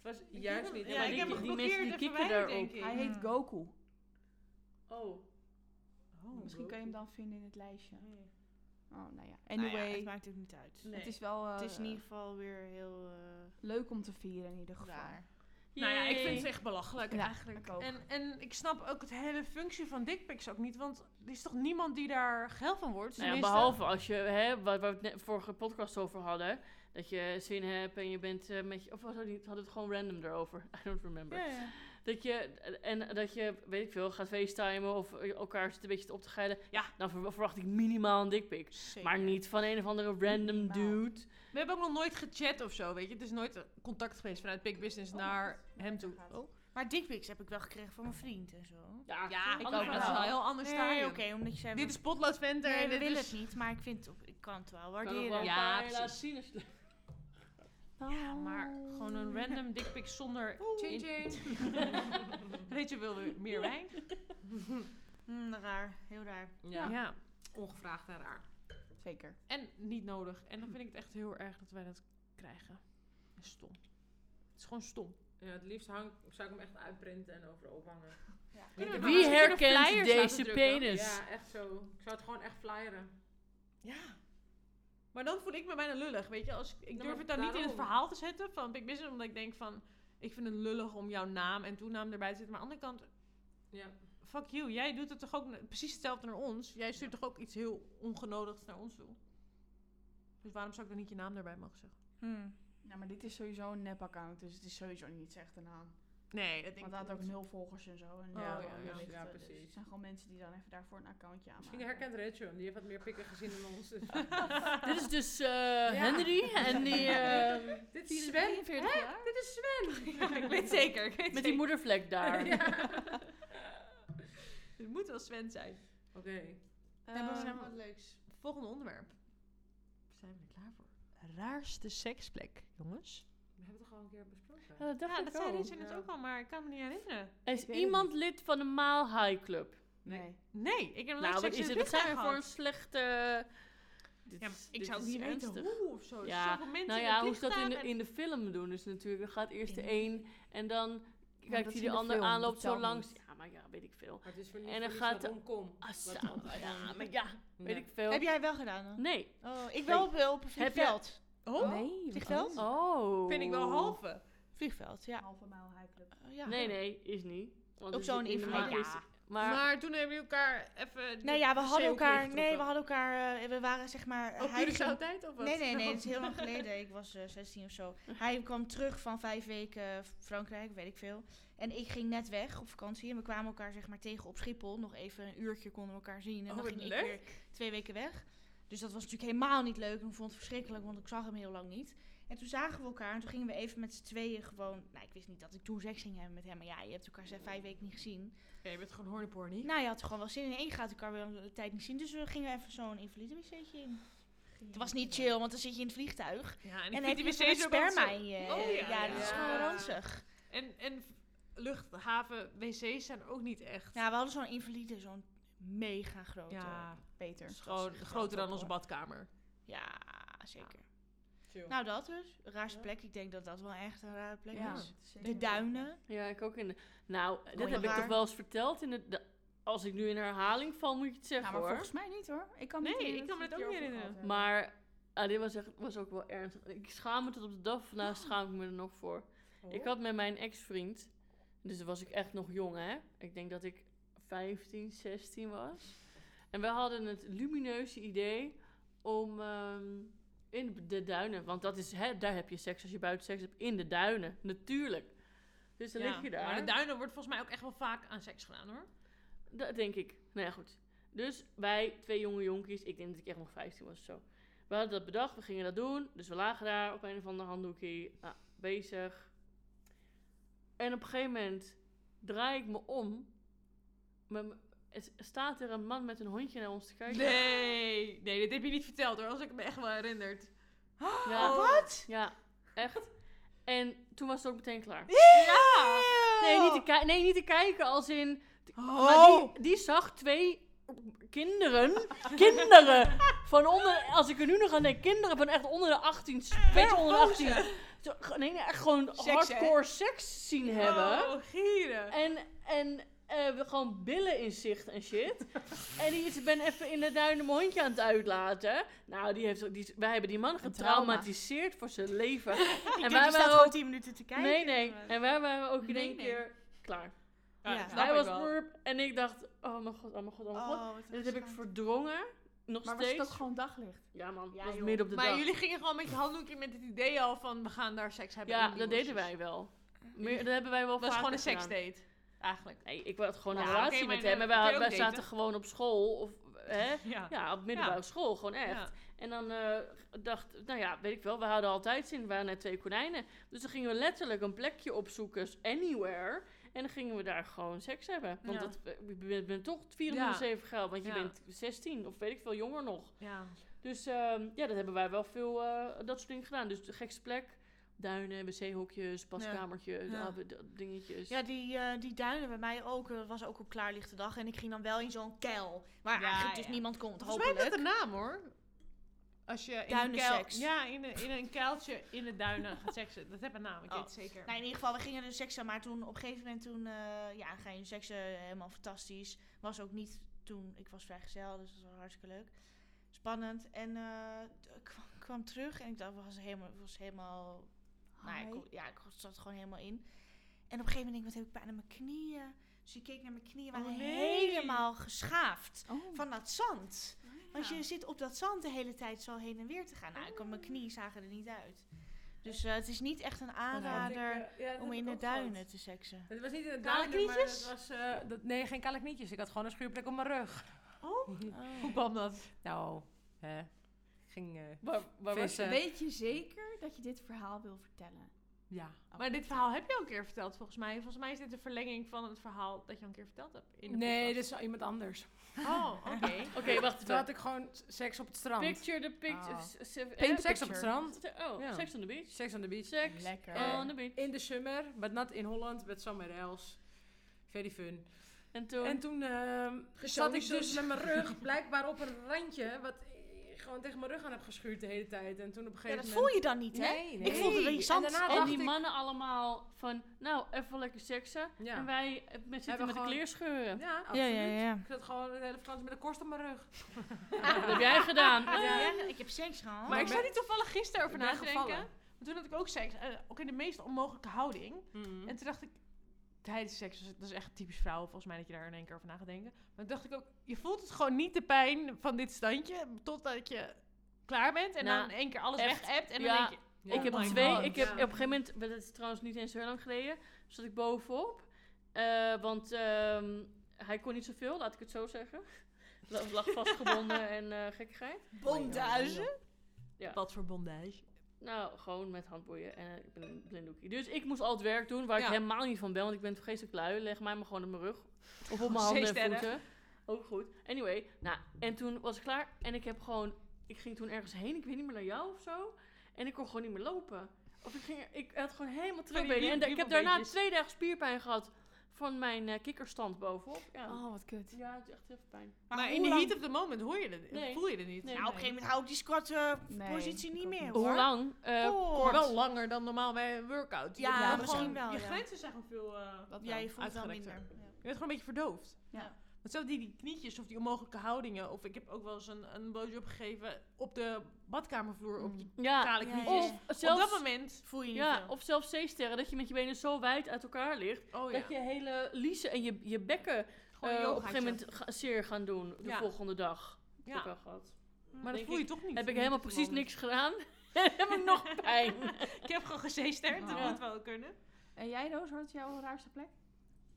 S5: was juist niet.
S3: Ja, ik heb hem
S6: die mensen
S3: geblokkeerd
S6: die
S3: en
S6: kikken
S3: verwijderd,
S6: daarop.
S3: denk ik.
S1: Hij heet Goku.
S5: Oh.
S3: Oh,
S1: Misschien kun je hem dan vinden in het lijstje. Oh, nou ja.
S4: Nou
S1: Anyway,
S4: ja, het
S1: het,
S4: maakt ook niet uit.
S3: Nee.
S1: is wel eh,
S4: Het is in ieder geval weer heel eh
S1: leuk om te vieren in ieder geval.
S4: raar.
S3: Nou ja, ik
S6: Yay.
S3: vind het echt belachelijk.
S1: Ja,
S3: eigenlijk.
S1: ik ook.
S3: En, en ik snap ook het hele functie van dickpics ook niet, want er is toch niemand die daar geil van wordt?
S6: Nou ja,
S3: Tenminste-
S6: behalve als je, hè, waar, waar we het net vorige podcast over hadden, dat je zin hebt en je bent eh, met je, of was het niet, hadden we het gewoon random erover, I don't remember.
S4: Ja, ja.
S6: Dat je, en dat je, weet ik veel, gaat facetimen of elkaar zit een beetje te op te geilen, ja, dan ver- verwacht ik minimaal een dickpic.
S4: Zeker.
S6: Maar niet van een of andere random
S1: Minimaal.
S6: dude.
S3: We hebben ook nog nooit gechat of zo, weet je. Het is nooit eh, contact geweest vanuit Big Business
S1: Oh,
S3: naar
S1: dat-
S3: hem toe.
S1: gaat.
S3: Oh.
S4: Maar dickpics heb ik wel gekregen van mijn vriend en zo.
S6: Ja,
S3: Ja,
S6: ik
S3: ik
S6: ook
S3: dat is wel een
S6: wel.
S3: heel anders staan.
S4: Nee, oké, omdat je zei...
S3: Dit
S4: we-
S3: is Potlood Venter.
S4: Nee,
S3: en
S4: we
S3: dit
S4: willen
S3: is-
S4: het niet, maar ik vind het op- ik kan het wel
S6: Kan ook wel
S4: waarderen.
S6: een
S3: Ja,
S6: paar
S3: precies.
S6: laten zien als je-
S3: Ja, maar gewoon een random dickpic zonder...
S5: Ching
S3: in-
S5: ching.
S3: Rachel wil weer meer wijn.
S4: Hm, raar, heel raar.
S5: Ja. Ongevraagd en raar.
S1: Zeker.
S3: En niet nodig. En dan vind ik het echt heel erg dat wij dat krijgen. Dat is stom. Het is gewoon stom.
S5: Ja, het liefst hang, zou ik hem echt uitprinten en overal ophangen.
S4: Ja.
S5: Niet te
S6: Wie
S5: maken.
S3: flyers
S6: herkent
S3: laten
S6: deze
S3: drukken?
S6: penis?
S5: Ja, echt zo. Ik zou het gewoon echt flyeren.
S3: Ja. Maar dan voel ik me bijna lullig, weet je. Als, ik- ik
S5: Nou,
S3: durf
S5: maar
S3: het dan niet in het
S5: daarom.
S3: verhaal te zetten van Big Business, omdat ik denk van... Ik vind het lullig om jouw naam en toenaam erbij te zetten. Maar aan de andere kant,
S5: Ja.
S3: fuck you. Jij doet het toch ook na- precies hetzelfde naar ons? Jij stuurt toch ook iets heel ongenodigd naar ons toe? Dus waarom zou ik dan niet je naam erbij mogen zeggen?
S4: Hmm.
S1: Nou, maar dit is sowieso een nep-account, dus het is sowieso niet echt een naam.
S3: Nee, dat denk
S1: Want
S3: ik
S1: hij had ook
S3: niet.
S1: nul volgers en zo. En
S3: Oh, ja,
S1: nul,
S3: ja,
S1: eh,
S3: ja,
S1: lichten,
S7: ja,
S1: dus
S7: precies.
S1: het zijn gewoon mensen die dan even daarvoor een accountje aanmaken.
S7: Misschien herkent Rachel hem. Die heeft wat meer pikken gezien dan ons. Dus-
S5: Dit is dus eh, Henry en die... eh,
S7: Dit is Sven.
S1: 43 jaar?
S7: Dit is Sven.
S4: ik weet zeker. Ik weet
S5: met die moedervlek daar.
S4: Het moet wel Sven zijn.
S7: Oké.
S4: We hebben
S1: Ehm,
S4: nog wat leuks.
S3: Volgende onderwerp. Zijn we er klaar voor? Raarste seksplek, jongens.
S7: We hebben het toch al een keer besproken?
S5: Ja, dat dacht
S3: Ja,
S5: ik
S3: dat
S5: al.
S3: zei Rachel net
S7: Ja.
S3: ook al, maar ik kan me niet herinneren.
S5: Er Is
S1: weet het
S5: iemand lid van de Maal High Club?
S1: nee.
S3: Nee, ik heb nog nooit
S5: Nou, wat
S3: seks in
S5: is
S3: een
S5: het? Wat zijn we
S3: vliegtuig
S5: voor een
S3: gehad.
S5: slechte... Dit
S3: Ja, maar
S5: is-
S3: ik
S5: dit
S3: zou
S5: is
S3: het niet
S5: ernstig.
S3: weten hoe of zo.
S5: Ja,
S3: Zoveel mensen
S5: Nou
S3: in
S5: ja,
S3: een
S5: hoe ze dat in de,
S3: vliegtuig en-
S5: in de film doen is natuurlijk. Dan gaat eerst de
S4: In-
S5: een en dan kijkt
S1: dat
S5: hij
S1: is
S5: de
S1: in de
S5: ander
S1: film,
S5: aan,
S1: dat
S5: loopt zo
S1: telt
S5: langs.
S1: niet.
S5: Ja, maar ja, weet ik veel.
S7: Maar het is voor niet
S5: En
S7: en
S5: dan
S7: dan
S5: gaat
S7: gaat
S5: de-
S7: romcom.
S5: Ah,
S7: Wat
S5: samen,
S7: altijd-
S5: ja, maar ja, weet
S7: Nee.
S5: ik veel.
S4: Heb jij wel gedaan? Dan?
S5: Nee.
S4: Oh, ik wel op, op een
S5: Heb jij-
S4: vliegveld.
S1: Oh, Nee,
S4: Vliegveld?
S1: wat?
S5: Oh.
S3: Vind ik wel halve.
S4: Vliegveld, ja.
S1: Halve mijl high club.
S4: Eh, ja.
S5: Nee, nee, is niet. Want het
S4: Op
S5: is
S4: zo'n
S5: in de
S4: evenement.
S5: ma- is-
S4: Ja.
S5: Maar,
S3: Maar, toen hebben we elkaar even...
S4: Nee, ja, we hadden
S3: zeehoek
S4: elkaar.
S3: ingetrokken.
S4: Nee, we hadden elkaar. eh, we waren zeg maar. eh,
S3: Op
S4: hij
S3: jullie
S4: ging-
S3: zo'n tijd of wat?
S4: Nee, nee, nee, het is heel lang geleden. Ik was eh, 16 of zo. Hij kwam terug van vijf weken eh, Frankrijk, weet ik veel. En ik ging net weg op vakantie. En we kwamen elkaar zeg maar tegen op Schiphol. Nog even een uurtje konden we elkaar zien. En
S3: Oh,
S4: dan
S3: wat
S4: ging ik
S3: leuk.
S4: weer twee weken weg. Dus dat was natuurlijk helemaal niet leuk. En ik vond het verschrikkelijk, want ik zag hem heel lang niet. En toen zagen we elkaar en toen gingen we even met z'n tweeën gewoon... Nou, ik wist niet dat ik toen seks ging hebben met hem. Maar ja, je hebt elkaar zijn vijf weken niet gezien.
S3: Nee, je bent gewoon hornyporny.
S4: Nou, je had er gewoon wel zin in. En je gaat elkaar weer een tijd niet zien. Dus we gingen even zo'n invalide wc'tje in. Het was niet chill, want dan zit je in het vliegtuig.
S3: Ja, en ik
S4: En heb
S3: vind die
S4: je wc's
S3: wc's ook altijd
S4: sperma
S3: zo-
S4: in je.
S3: Oh, ja,
S4: ja, dat is
S7: ja.
S4: gewoon ranzig.
S3: En, en v- luchthaven wc's zijn ook niet echt...
S4: Ja, we hadden zo'n invalide, zo'n mega grote.
S3: Ja,
S1: Beter.
S3: het is gewoon groter dan onze badkamer.
S4: Ja, zeker.
S7: Chill.
S4: Nou, dat dus. Raarste plek. Ik denk dat dat wel echt een rare plek
S1: Ja.
S4: is. De duinen.
S5: ja, ik ook in de... Nou, dit
S4: heel
S5: heb ik
S4: raar.
S5: toch wel eens verteld. In de, de- als ik nu in herhaling val, moet je het zeggen
S1: Nou, maar
S5: hoor.
S1: volgens mij niet hoor. Ik kan
S3: Nee,
S1: niet herinneren
S3: ik
S1: dat
S3: kan me
S1: we
S3: dat
S1: het
S3: ook niet
S1: hierover
S3: herinneren.
S1: gehad
S5: Maar ah, dit was, echt, was ook wel ernstig. Ik schaam me tot op de dag van vandaag, schaam ik me er nog voor.
S3: Oh.
S5: Ik had met mijn ex-vriend, dus dan was ik echt nog jong hè. Ik denk dat ik 15, 16 was. En we hadden het lumineuze idee om ehm, in de duinen, want dat is, hè, daar heb je seks als je buiten seks hebt, in de duinen, natuurlijk. Dus dan
S3: Ja,
S5: lig je daar.
S3: Maar de duinen wordt volgens mij ook echt wel vaak aan seks gedaan hoor.
S5: Dat denk ik. Nou ja, goed. Dus wij, twee jonge jonkies, ik denk dat ik echt nog 15 was of zo. We hadden dat bedacht, we gingen dat doen. Dus we lagen daar op een of ander handdoekje, nou, bezig. En op een gegeven moment draai ik me om. Met m- het staat er een man met een hondje naar ons te kijken.
S3: Nee, nee, dit heb je niet verteld hoor, als ik me echt wel herinnerd. Oh.
S5: Ja,
S4: Wat?
S5: ja, echt. En toen was het ook meteen klaar.
S3: Ja!
S5: Nee, niet te, ki- nee, niet te kijken als in... Maar
S3: Oh!
S5: die, die zag twee kinderen, kinderen, van onder, als ik er nu nog aan denk, kinderen van echt onder de 18,
S3: Oh,
S5: ver onder de 18, zo- ge- nee, nee, echt gewoon
S4: Seks, hè?
S5: hardcore seks zien hebben.
S3: Oh, gieren.
S5: En, en eh, we gewoon billen in zicht en shit. en die is, ik ben even in de duinen mijn hondje aan het uitlaten. Nou, die heeft, die, is- wij hebben die man getraumatiseerd voor zijn leven.
S4: Ik
S5: wij
S4: denk, je staat
S5: wel-
S4: gewoon 10 minuten te kijken. Oh,
S5: nee, nee. En wij waren ook in
S4: Nee,
S5: één
S4: nee.
S5: keer klaar.
S4: Ja,
S3: dat
S4: Hij
S3: snap
S5: Hij
S3: ik
S5: was
S3: wel.
S5: burp en ik dacht, oh mijn god, oh mijn god, oh mijn god.
S4: Oh, wat
S5: Dit heb ik
S4: raar.
S5: verdrongen. Nog
S1: Maar was
S5: steeds.
S1: het ook gewoon daglicht?
S5: Ja man,
S4: Ja,
S5: was
S4: joh.
S5: midden op de
S3: Maar
S5: dag.
S3: jullie gingen gewoon met je handdoekje met het idee al van we gaan daar seks hebben.
S5: ja,
S3: in die
S5: dat deden
S3: bosjes.
S5: wij wel. Meer, dat hebben wij wel
S3: Dat was gewoon
S5: vaker
S3: een
S5: gedaan.
S3: seksdate, eigenlijk.
S5: Nee, ik had gewoon een
S3: Ja,
S5: relatie
S3: oké, maar
S5: met
S3: dan
S5: hem. En
S3: kun je
S5: wij,
S3: ook
S5: wij
S3: daten.
S5: zaten gewoon op school. Of, hè?
S3: Ja.
S5: Ja, op middelbare
S3: Ja.
S5: school, gewoon echt.
S3: Ja.
S5: En dan eh, dacht, nou ja, weet ik wel, we hadden altijd zin. We waren net twee konijnen. Dus dan gingen we letterlijk een plekje opzoeken, s- anywhere. En dan gingen we daar gewoon seks hebben. Want
S3: Ja.
S5: dat, eh, je bent, bent toch 407 graden, want je
S3: Ja.
S5: bent 16 of weet ik veel, jonger nog.
S3: Ja.
S5: Dus ehm, ja, dat hebben wij wel veel eh, dat soort dingen gedaan. Dus de gekste plek, duinen, wc-hokjes, paskamertjes,
S3: Ja.
S5: ah, dat- dingetjes.
S3: Dus.
S4: Ja, die, eh, die duinen bij mij ook. eh, was ook op klaarlichte dag. En ik ging dan wel in zo'n kuil. Waar
S3: Ja,
S4: eigenlijk
S3: ja.
S4: dus niemand komt,
S3: Volgens mij
S4: hopelijk.
S3: is dat een naam hoor. Als je in een kuil,
S4: Duinenseks.
S3: ja, in een, in een kuiltje in de duinen gaat seksen. Dat heb een naam, ik
S4: Oh.
S3: weet het zeker.
S4: Nou, in ieder geval, we gingen dus seksen, maar toen op een gegeven moment toen, eh, ja, ga je seksen, helemaal fantastisch. Was ook niet toen, ik was vrijgezel, dus dat was hartstikke leuk. Spannend. En eh, t- ik kwam, kwam terug en ik dacht, was helemaal, was helemaal nou, ja, ik, kon- ja, ik zat er gewoon helemaal in. En op een gegeven moment denk ik, wat heb ik pijn aan mijn knieën? Dus ik keek naar mijn knieën, waren
S8: Oh, nee.
S4: helemaal geschaafd
S8: Oh.
S4: van dat zand. Want
S8: Ja.
S4: je zit op dat zand de hele tijd zo heen en weer te gaan. Nou, ik, mijn knieën zagen er niet uit. Dus eh, het is niet echt een
S5: Nou,
S4: aanrader
S5: eh,
S4: om in de duinen te seksen.
S5: Het was niet in de
S4: Kale
S5: duinen, maar het
S4: knietjes?
S5: was... eh, dat, nee, geen kale knietjes. Ik had gewoon een schuurplek op mijn rug.
S4: Oh.
S9: kwam dat?
S5: Nou, hè. Ik ging... eh,
S8: Waar,
S5: was je?
S8: Weet je zeker dat je dit verhaal wil vertellen?
S5: ja.
S3: Maar dit verhaal heb je al een keer verteld, volgens mij. Volgens mij is dit de verlenging van het verhaal dat je al een keer verteld hebt. In de
S5: Nee, dit
S3: podcast.
S5: is wel iemand anders.
S3: Oh, oké.
S1: Oké, wacht
S5: Toen
S1: even.
S5: had ik gewoon s- seks op het strand.
S1: Picture the picture.
S8: Ah.
S1: s- s- eh,
S5: Seks op het
S1: picture.
S5: strand.
S1: Oh,
S5: Ja.
S1: seks on the beach.
S5: Seks on the beach.
S1: Seks
S8: Lekker.
S5: Eh.
S1: on the beach.
S5: In the summer, but not in Holland, but somewhere else. Very fun.
S1: En toen...
S5: En toen ehm, zat ik dus met mijn rug blijkbaar op een randje, wat ik gewoon tegen mijn rug aan heb geschuurd de hele tijd. En toen op een
S4: Ja,
S5: gegeven
S4: dat voel
S5: moment...
S4: je dan niet, hè?
S5: Nee, nee.
S4: Ik voelde
S5: En
S4: die zand.
S5: daarna
S1: en
S5: dacht
S1: die
S5: ik-
S1: mannen allemaal van, nou, even lekker seksen.
S5: Ja.
S1: En wij eh, met zitten
S5: Hebben
S1: met de
S5: gewoon-
S1: kleerscheuren.
S5: Ja, absoluut.
S4: ja, ja.
S5: Ik zat gewoon een hele vakantie met een korst op mijn rug.
S1: Dat heb jij gedaan.
S4: Ja, ik heb seks gehad.
S3: Maar
S5: ik
S3: ik zat niet toevallig gisteren over
S5: Ik
S3: na
S5: ben
S3: te denken.
S5: gevallen.
S3: Want toen had ik ook seks. eh, ook in de meest onmogelijke houding.
S5: Mm.
S1: Hm.
S3: En toen dacht ik, tijdens seks, dus dat is echt typisch vrouwen volgens mij dat je daar in één keer over na gaat denken. Maar toen dacht ik ook, je voelt het gewoon niet de pijn van dit standje, totdat je klaar bent en
S1: Nou,
S3: dan in één keer alles
S1: echt,
S3: weg hebt. En
S1: ja.
S3: dan denk je,
S5: Ja.
S1: ik heb
S3: Oh my
S1: twee.
S3: God.
S1: Ik heb
S5: Ja.
S1: op een gegeven moment, maar dat is trouwens niet eens heel lang geleden, zat ik bovenop. Eh, want ehm, hij kon niet zoveel, laat ik het zo zeggen. La- Lag vastgebonden en eh
S3: Oh
S1: gekkigheid.
S4: Bondage.
S3: wat voor bondage.
S1: Nou, gewoon met handboeien en eh, ik ben een blinddoekje. Dus ik moest al het werk doen waar
S3: Ja.
S1: ik helemaal niet van ben, want ik ben vreselijk lui. Leg mij maar gewoon op mijn rug. Of op mijn
S3: Gewoon
S1: handen en
S3: zeesterren.
S1: voeten. Ook goed. Anyway, nou, en toen was ik klaar en ik heb gewoon... Ik ging toen ergens heen, ik weet niet meer naar jou of zo. En ik kon gewoon niet meer lopen. Of ik, ging, ik had gewoon helemaal terugbenen.
S3: wiel-
S1: En da- ik heb daarna
S3: wiebelbeentjes.
S1: twee dagen spierpijn gehad van mijn eh, kikkerstand bovenop. Ja,
S8: Oh, wat kut.
S1: ja het is echt heel veel pijn.
S3: Maar,
S4: hoe
S3: in de
S4: lang-
S3: heat of the moment hoor je het,
S1: Nee.
S3: voel je het niet.
S1: Nee,
S4: Nou, op een gegeven moment hou ik die squat eh,
S8: Nee,
S4: positie niet
S8: ik ook
S4: meer,
S8: niet.
S4: hoor.
S1: Hoe lang? Eh,
S4: Nou, Kort.
S3: Maar wel langer dan normaal bij een workout. Je
S4: Ja,
S3: bent gewoon-
S4: misschien wel,
S3: Je
S4: ja.
S3: grenzen zijn gewoon veel... eh,
S8: Dat
S4: Ja,
S8: wel.
S4: je voelt het wel
S3: uitgerekter.
S4: minder.
S3: je bent gewoon een beetje verdoofd.
S8: Ja.
S3: Want zelfs die, die knietjes of die onmogelijke houdingen. Of ik heb ook wel eens een, een blowjob gegeven op de badkamervloer op je
S1: Mm. ja,
S3: kale
S4: Ja,
S3: knietjes.
S4: ja.
S1: of
S4: Op
S3: Op dat
S1: zelfs...
S3: moment
S4: Voel je niet
S1: Ja,
S4: veel.
S1: of zelfs zeesterren, dat je met je benen zo wijd uit elkaar ligt,
S3: Oh
S1: dat je hele liezen en je, je bekken
S3: Gewoon
S1: eh,
S3: yogaatje.
S1: op een gegeven moment ga- zeer gaan doen de
S3: Ja.
S1: volgende dag.
S3: Ja.
S1: Heb ik wel gehad.
S3: Maar dat
S1: denk
S3: voel je toch niet.
S1: Heb ik
S3: Niet
S1: helemaal
S3: op de
S1: precies
S3: moment.
S1: niks gedaan. heb ik nog pijn.
S3: Ik heb gewoon gezeesterd, dat
S8: Ja.
S3: moet wel kunnen.
S8: En jij, Roos, wat is jouw raarste plek?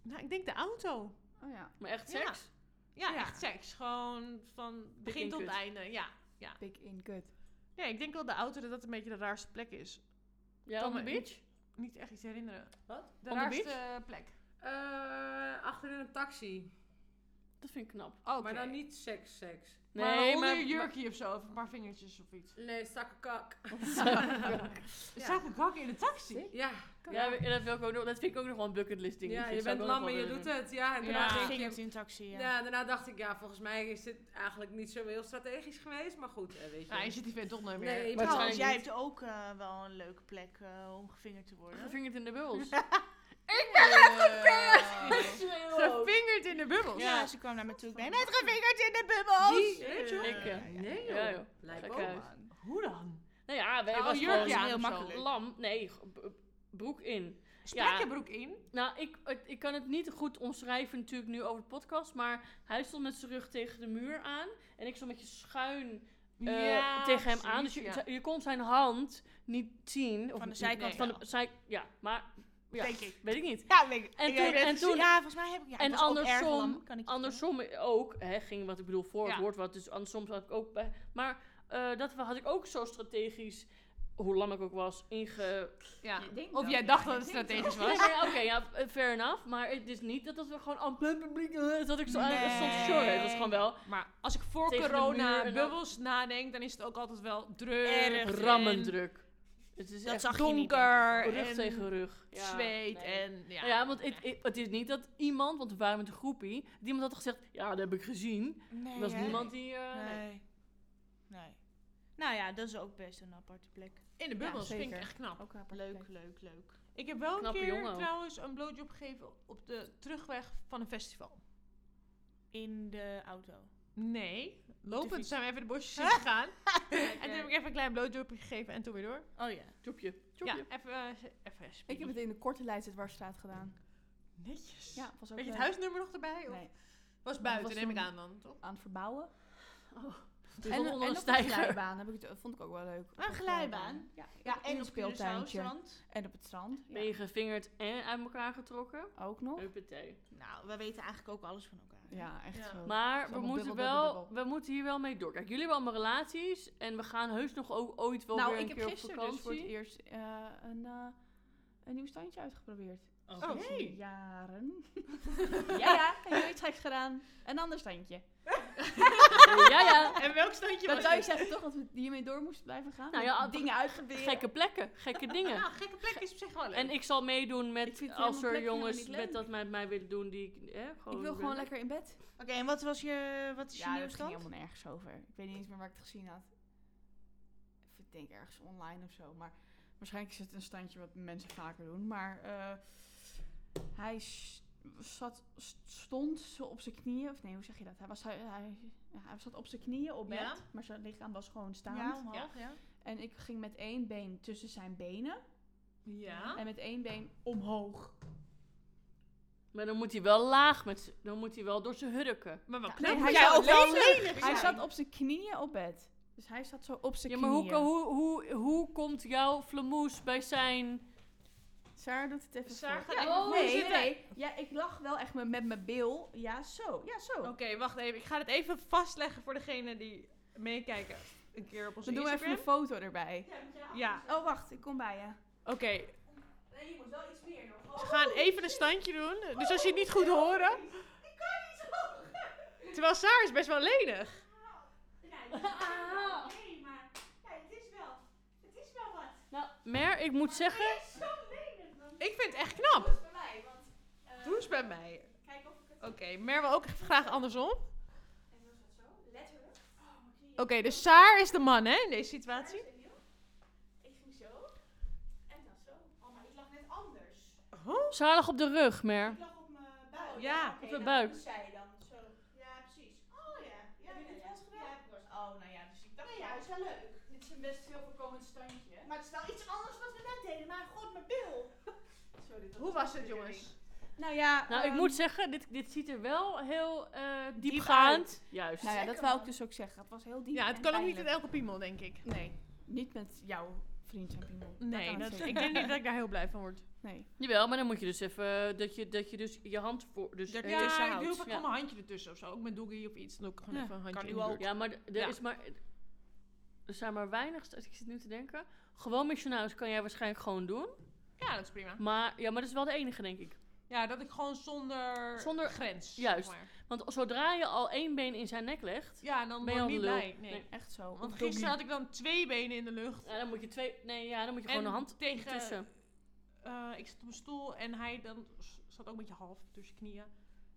S3: Nou, ik denk de auto.
S8: Oh ja,
S1: Maar echt
S3: Ja.
S1: seks?
S3: Ja,
S8: Ja.
S3: echt seks. Gewoon van begin
S1: in
S3: tot
S1: kut.
S3: einde. Ja.
S8: pik in kut.
S3: Nee, ik denk wel de auto dat dat een beetje de raarste plek is.
S1: Ja,
S3: Kan
S1: on the
S3: me-
S1: beach?
S3: Niet echt iets herinneren.
S5: Wat?
S3: De
S1: On the
S3: raarste
S1: beach?
S3: plek.
S5: Eh, achterin een taxi.
S1: Dat vind ik knap.
S3: Oh,
S5: Maar dan niet seks, seks.
S3: maar onder
S1: maar-
S3: je jurkje of zo. Of een paar vingertjes of iets.
S5: Nee, stakke kak. Ja.
S3: Zag ik ook in de taxi?
S5: Ja,
S1: Ja, we- dat, wil ik ook nog, dat vind ik ook nog wel een bucketlist ding.
S5: ja je bent lam en je doet het. Ja, en
S1: Ja.
S5: daarna
S4: Ja,
S5: denk
S4: ging
S5: je,
S4: het in taxi, ja.
S5: Ja, daarna dacht ik, ja, volgens mij is dit eigenlijk niet zo heel strategisch geweest. Maar goed, eh, weet je.
S3: Nou, je zit die vent toch nooit meer.
S5: Nee,
S1: Maar- waarschijnlijk
S4: Trouwens, jij
S1: niet.
S4: hebt ook eh, wel een leuke plek eh, om gevingerd te worden.
S1: Gevingerd in de bubbels.
S3: Gevingerd in de bubbels.
S4: Ja,
S1: Ja.
S4: ze kwam naar me toe. Ik ben net gevingerd in de bubbels! Oh,
S5: Die?
S4: Rachel?
S1: Ik, eh,
S5: nee joh.
S1: Ja, joh.
S5: Lijkt
S1: Gek
S5: me
S1: uit.
S5: ook, man.
S3: Hoe dan?
S1: Nou ja, wij
S3: Oh,
S1: was
S3: jurkje
S1: gewoon
S3: aan
S1: heel
S3: of zo.
S1: makkelijk. Lam, nee, g- b- broek in.
S3: Sprak
S1: Ja.
S3: je broek in?
S1: Nou, ik, het- ik kan het niet goed omschrijven natuurlijk nu over de podcast, maar hij stond met zijn rug tegen de muur aan en ik stond met je schuin eh, tegen hem aan. Dus je,
S3: precies, ja.
S1: z- je kon zijn hand niet zien. Of
S4: Van de
S1: niet-
S4: zijkant
S1: Van
S4: wel.
S1: de zij, ja, maar ja,
S4: Denk ik.
S1: weet ik niet.
S4: Ja, denk ik.
S1: En
S4: Ik
S1: toen-
S4: heb het
S1: en
S4: gezien.
S1: toen-
S4: Ja, volgens mij heb ik... Ja,
S1: en
S4: ik was ook erg
S1: andersom-
S4: lam, kan ik je
S1: Andersom ook, hè, ging wat ik bedoel voor het
S3: Ja.
S1: woord wat, dus andersom had ik ook bij. Maar eh, dat had ik ook zo strategisch, hoe lam ik ook was, inge,
S3: Ja.
S8: Ik denk
S3: Of
S8: wel,
S3: jij
S8: ja,
S3: dacht
S8: ik
S3: dat het
S8: denk het
S3: strategisch
S1: Nee,
S3: was.
S1: maar ja, Oké, ja, fair enough. Maar het is niet dat, dat we gewoon aan het publiek... eh, Dat ik zo aan stond te sjorren. Het was gewoon wel...
S3: Maar als ik voor
S1: Tegen de
S3: corona
S1: muur en
S3: bubbels nadenk, dan is het ook altijd wel druk.
S4: Erg.
S3: en
S1: Rammendruk. Het is
S4: Dat
S1: echt
S4: zag je niet,
S3: Donker.
S1: rug
S3: en
S1: tegen rug. Ja, nee.
S3: Zweet en...
S1: Ja,
S3: Ja,
S1: want het, het- het is niet dat iemand, want we waren met een groepie, dat iemand had gezegd, "Ah, ja, dat heb ik gezien.
S4: vertellen. Nee,
S1: Er was
S4: hè?
S1: niemand die... eh, nee.
S4: Nee. Nee. Nou ja, dat is ook best een aparte plek.
S3: In de bubbels
S8: Ja,
S3: vind ik
S8: zeker.
S3: echt knap.
S8: Ook een aparte
S4: Leuk,
S8: plek.
S4: leuk, leuk.
S3: Ik heb wel een
S1: Knappe
S3: keer
S1: jongen ook.
S3: trouwens een blowjob gegeven op de terugweg van een festival.
S4: In de auto.
S3: Nee,
S4: Op de
S3: lopend
S4: fiets.
S3: zijn we even de bosjes in gegaan. en toen heb ik even een klein blowjobje gegeven en toen weer door.
S4: Oh ja.
S1: Tjopje. Tjopje.
S3: Ja, even... eh, even
S8: Ik heb het in de korte lijst het Warstraat gedaan.
S3: Netjes.
S1: Ja, was ook
S3: Weet je het
S1: eh,
S3: huisnummer nog erbij? Of
S1: Nee.
S3: was buiten,
S1: was
S3: neem ik
S1: toen-
S3: aan dan, toch?
S1: aan het verbouwen.
S5: Dus en, onder een
S1: op een
S5: stijger.
S1: glijbaan heb ik het, vond ik ook wel leuk.
S4: Een glijbaan.
S1: Ja,
S4: Ja, en op Curaçao
S1: speeltuintje.
S4: strand.
S1: En op het strand.
S5: Ben
S1: Ja.
S5: je gevingerd en uit elkaar getrokken?
S1: Ook nog.
S5: Huppatee.
S4: Nou, we weten eigenlijk ook alles van elkaar.
S1: Ja, echt
S3: Ja.
S1: zo.
S5: Maar we
S1: Allemaal
S5: moeten,
S1: dubbel, dubbel,
S5: wel, we moeten hier wel mee door. Kijk, jullie hebben allemaal relaties. En we gaan heus nog ook ooit wel
S1: nou,
S5: weer een
S1: ik heb
S5: keer
S1: gisteren
S5: op
S1: dus voor het
S5: vakantie.
S1: eerst eh, een, eh, een nieuw standje uitgeprobeerd.
S3: Oh,
S1: Sinds Jaren. ja, ja. Heb je iets geks gedaan? Een ander standje.
S5: ja, ja.
S3: En welk standje
S1: Dat
S3: was
S1: zou ik
S3: het?
S1: zeggen toch, dat we hiermee door moesten blijven gaan.
S5: Nou ja,
S1: Met dingen uitgebeelden.
S5: Gekke plekken, gekke dingen.
S3: Nou, gekke plek is op zich wel leuk.
S5: En ik zal meedoen
S1: Ik
S5: met
S1: vind
S5: als
S1: helemaal
S5: er
S1: plek
S5: jongens
S1: helemaal niet
S5: met
S1: leuk.
S5: dat met mij willen doen die ik. Hè, gewoon
S1: Ik wil
S5: ben.
S1: gewoon lekker in bed.
S4: Oké, en wat was je, wat is je
S1: Ja,
S4: nieuwe
S1: dat ging
S4: stand?
S1: helemaal nergens over. Ik weet niet eens meer waar ik het gezien had. Of Ik denk ergens online of zo. Maar waarschijnlijk is het een standje wat mensen vaker doen. Maar eh, hij s- zat, st- stond zo op zijn knieën. Of nee, hoe zeg je dat? Hij, was, hij, hij, ja, hij zat op zijn knieën op bed.
S3: Ja.
S1: Maar zijn lichaam was gewoon staand.
S4: Ja, omhoog, ja.
S1: En ik ging met één been tussen zijn benen.
S3: Ja.
S1: En met één been omhoog.
S5: Maar dan moet hij wel laag met. z'n- Dan moet hij wel door zijn hurken.
S3: Maar wat
S1: Ja,
S3: knap
S1: nee,
S3: moet
S1: hij
S3: jij
S1: zou
S3: ook
S1: ook wel
S3: lezen?
S1: Hij zat op zijn knieën op bed. Dus hij zat zo op zijn
S5: Ja, maar
S1: knieën.
S5: hoe, hoe, hoe, hoe komt jouw flamoes bij zijn.
S1: Sarah doet het even
S3: Saar
S1: voor.
S3: gaat even voor
S1: nee,
S3: zitten.
S1: nee. Ja, ik lag wel echt met met mijn bil. Ja, zo. Ja, zo.
S3: Oké, wacht even. Ik ga dit even vastleggen voor degene die meekijken. Een keer op onze
S1: We doen even
S3: Instagram.
S1: een foto erbij.
S3: Ja,
S1: Oh, wacht. Ik kom bij je.
S3: oké. Ze gaan even een standje doen. Dus als je het niet goed horen... Terwijl Saar is best wel lenig.
S5: Nou, Mer, ik moet zeggen.
S3: Ik vind het echt knap.
S1: eh,
S3: Doe eens bij mij. Oké, Mer wil ook echt graag andersom.
S1: Oh,
S3: Oké, dus Saar is de man, hè, in deze situatie.
S1: Oh,
S5: Saar lag op de rug, Mer.
S3: Ja.
S5: Op de
S1: nou,
S5: buik.
S1: Oh, nou ja, dus ik dacht... ja, is wel leuk. Dit is een best veel voorkomend standje.
S4: Maar het is wel iets anders wat we net deden, maar god, mijn bil.
S3: Hoe was het, jongens?
S1: Nou ja...
S5: Nou, ik
S1: ehm,
S5: moet zeggen, dit, dit ziet er wel heel eh
S1: Diep
S5: diepgaand. Juist.
S1: Nou ja, dat wou ik dus ook zeggen. Het was heel diep
S3: Ja, het
S1: en
S3: kan ook niet met
S1: pijnlijk.
S3: elke piemel, denk ik.
S1: Nee, niet met jouw vriend en piemel.
S3: Nee,
S1: kan
S3: dat,
S1: zeker
S3: ik denk niet dat ik daar heel blij van word.
S1: niet. Nee.
S5: Jawel, maar dan moet je dus even. eh, Dat je, dat je dus je hand voor. Dus,
S3: Ja,
S5: eh,
S3: ja ik doe
S5: houdt.
S3: vaak
S5: Ja.
S3: gewoon mijn handje ertussen of zo. Ook met doogie of iets. Dan doe ik gewoon
S4: Ja,
S3: even een handje
S4: kan
S3: in
S4: u
S3: de
S4: ook.
S3: buurt.
S5: Ja, maar d- er
S3: Ja.
S5: is maar. Er zijn maar weinig. sta- Ik zit nu te denken. Gewoon missionaris kan jij waarschijnlijk gewoon doen.
S3: Ja, dat is prima.
S5: Maar, ja, maar dat is wel de enige, denk ik.
S3: Ja, dat ik gewoon zonder,
S5: Zonder-
S3: grens.
S5: juist.
S3: zeg maar.
S5: Want zodra je al één been in zijn nek legt.
S3: Ja, dan
S5: Ben
S3: ben
S5: je
S3: ik
S5: al
S3: niet
S5: de lul.
S3: blij. Nee.
S5: Nee.
S1: Echt zo.
S3: Want gisteren had ik dan twee benen in de lucht.
S5: Ja, dan moet je twee. Nee, ja, dan moet je gewoon
S3: En
S5: een hand
S3: tegen-
S5: tussen.
S3: Eh, ik zat op mijn stoel en hij dan s- zat ook een beetje half tussen knieën.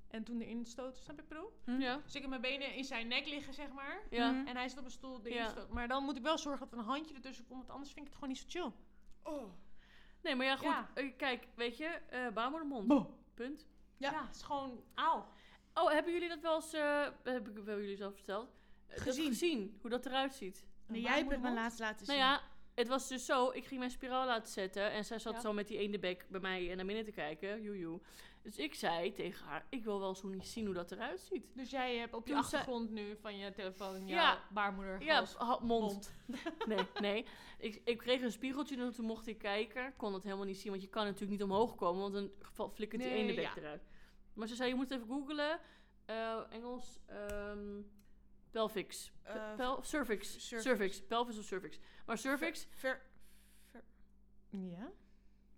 S3: En toen erin stoot, snap je wat ik bedoel?
S5: Ja.
S3: Dus ik heb mijn benen in zijn nek liggen, zeg maar.
S5: Ja.
S10: Mm.
S3: En hij zat op mijn stoel erin
S5: Mhm. Ja.
S3: stoot. Maar dan moet ik wel zorgen dat er een handje ertussen komt. Want anders vind ik het gewoon niet zo chill.
S5: Nee, maar ja, goed.
S3: Ja.
S5: eh, Kijk, weet je, eh baarmoedermond. Punt.
S3: Ja, het is gewoon auw.
S5: Oh, hebben jullie dat wel eens. eh, heb ik wel jullie zelf verteld? Eh, dat
S4: Gezien.
S5: gezien hoe dat eruit ziet.
S4: Nee, jij hebt het me laatst laten zien.
S5: Nou ja, het was dus zo. Ik ging mijn spiraal laten zetten. En zij zat
S3: Ja.
S5: zo met die ene bek bij mij en naar binnen te kijken. Joejoe. Dus ik zei tegen haar, ik wil wel zo niet zien hoe dat eruit ziet.
S3: Dus jij hebt op je
S5: Toen ze-
S3: achtergrond nu van je telefoon jouw
S5: Ja.
S3: baarmoeder.
S5: Ja,
S3: hals,
S5: ha- mond.
S3: mond.
S5: Nee, nee. Ik, ik kreeg een spiegeltje en toen mocht ik kijken. Kon het helemaal niet zien, want je kan natuurlijk niet omhoog komen. Want dan val- flikkert die
S3: Nee,
S5: ene bek
S3: ja.
S5: eruit. Maar ze zei, je moet even googlen. eh, Engels, ehm, pelvics. Pe-
S4: Eh,
S5: pel- cervix.
S4: cervix.
S5: cervix. Pelvis of cervix. Maar cervix,
S4: Ver- ver-
S3: Ja.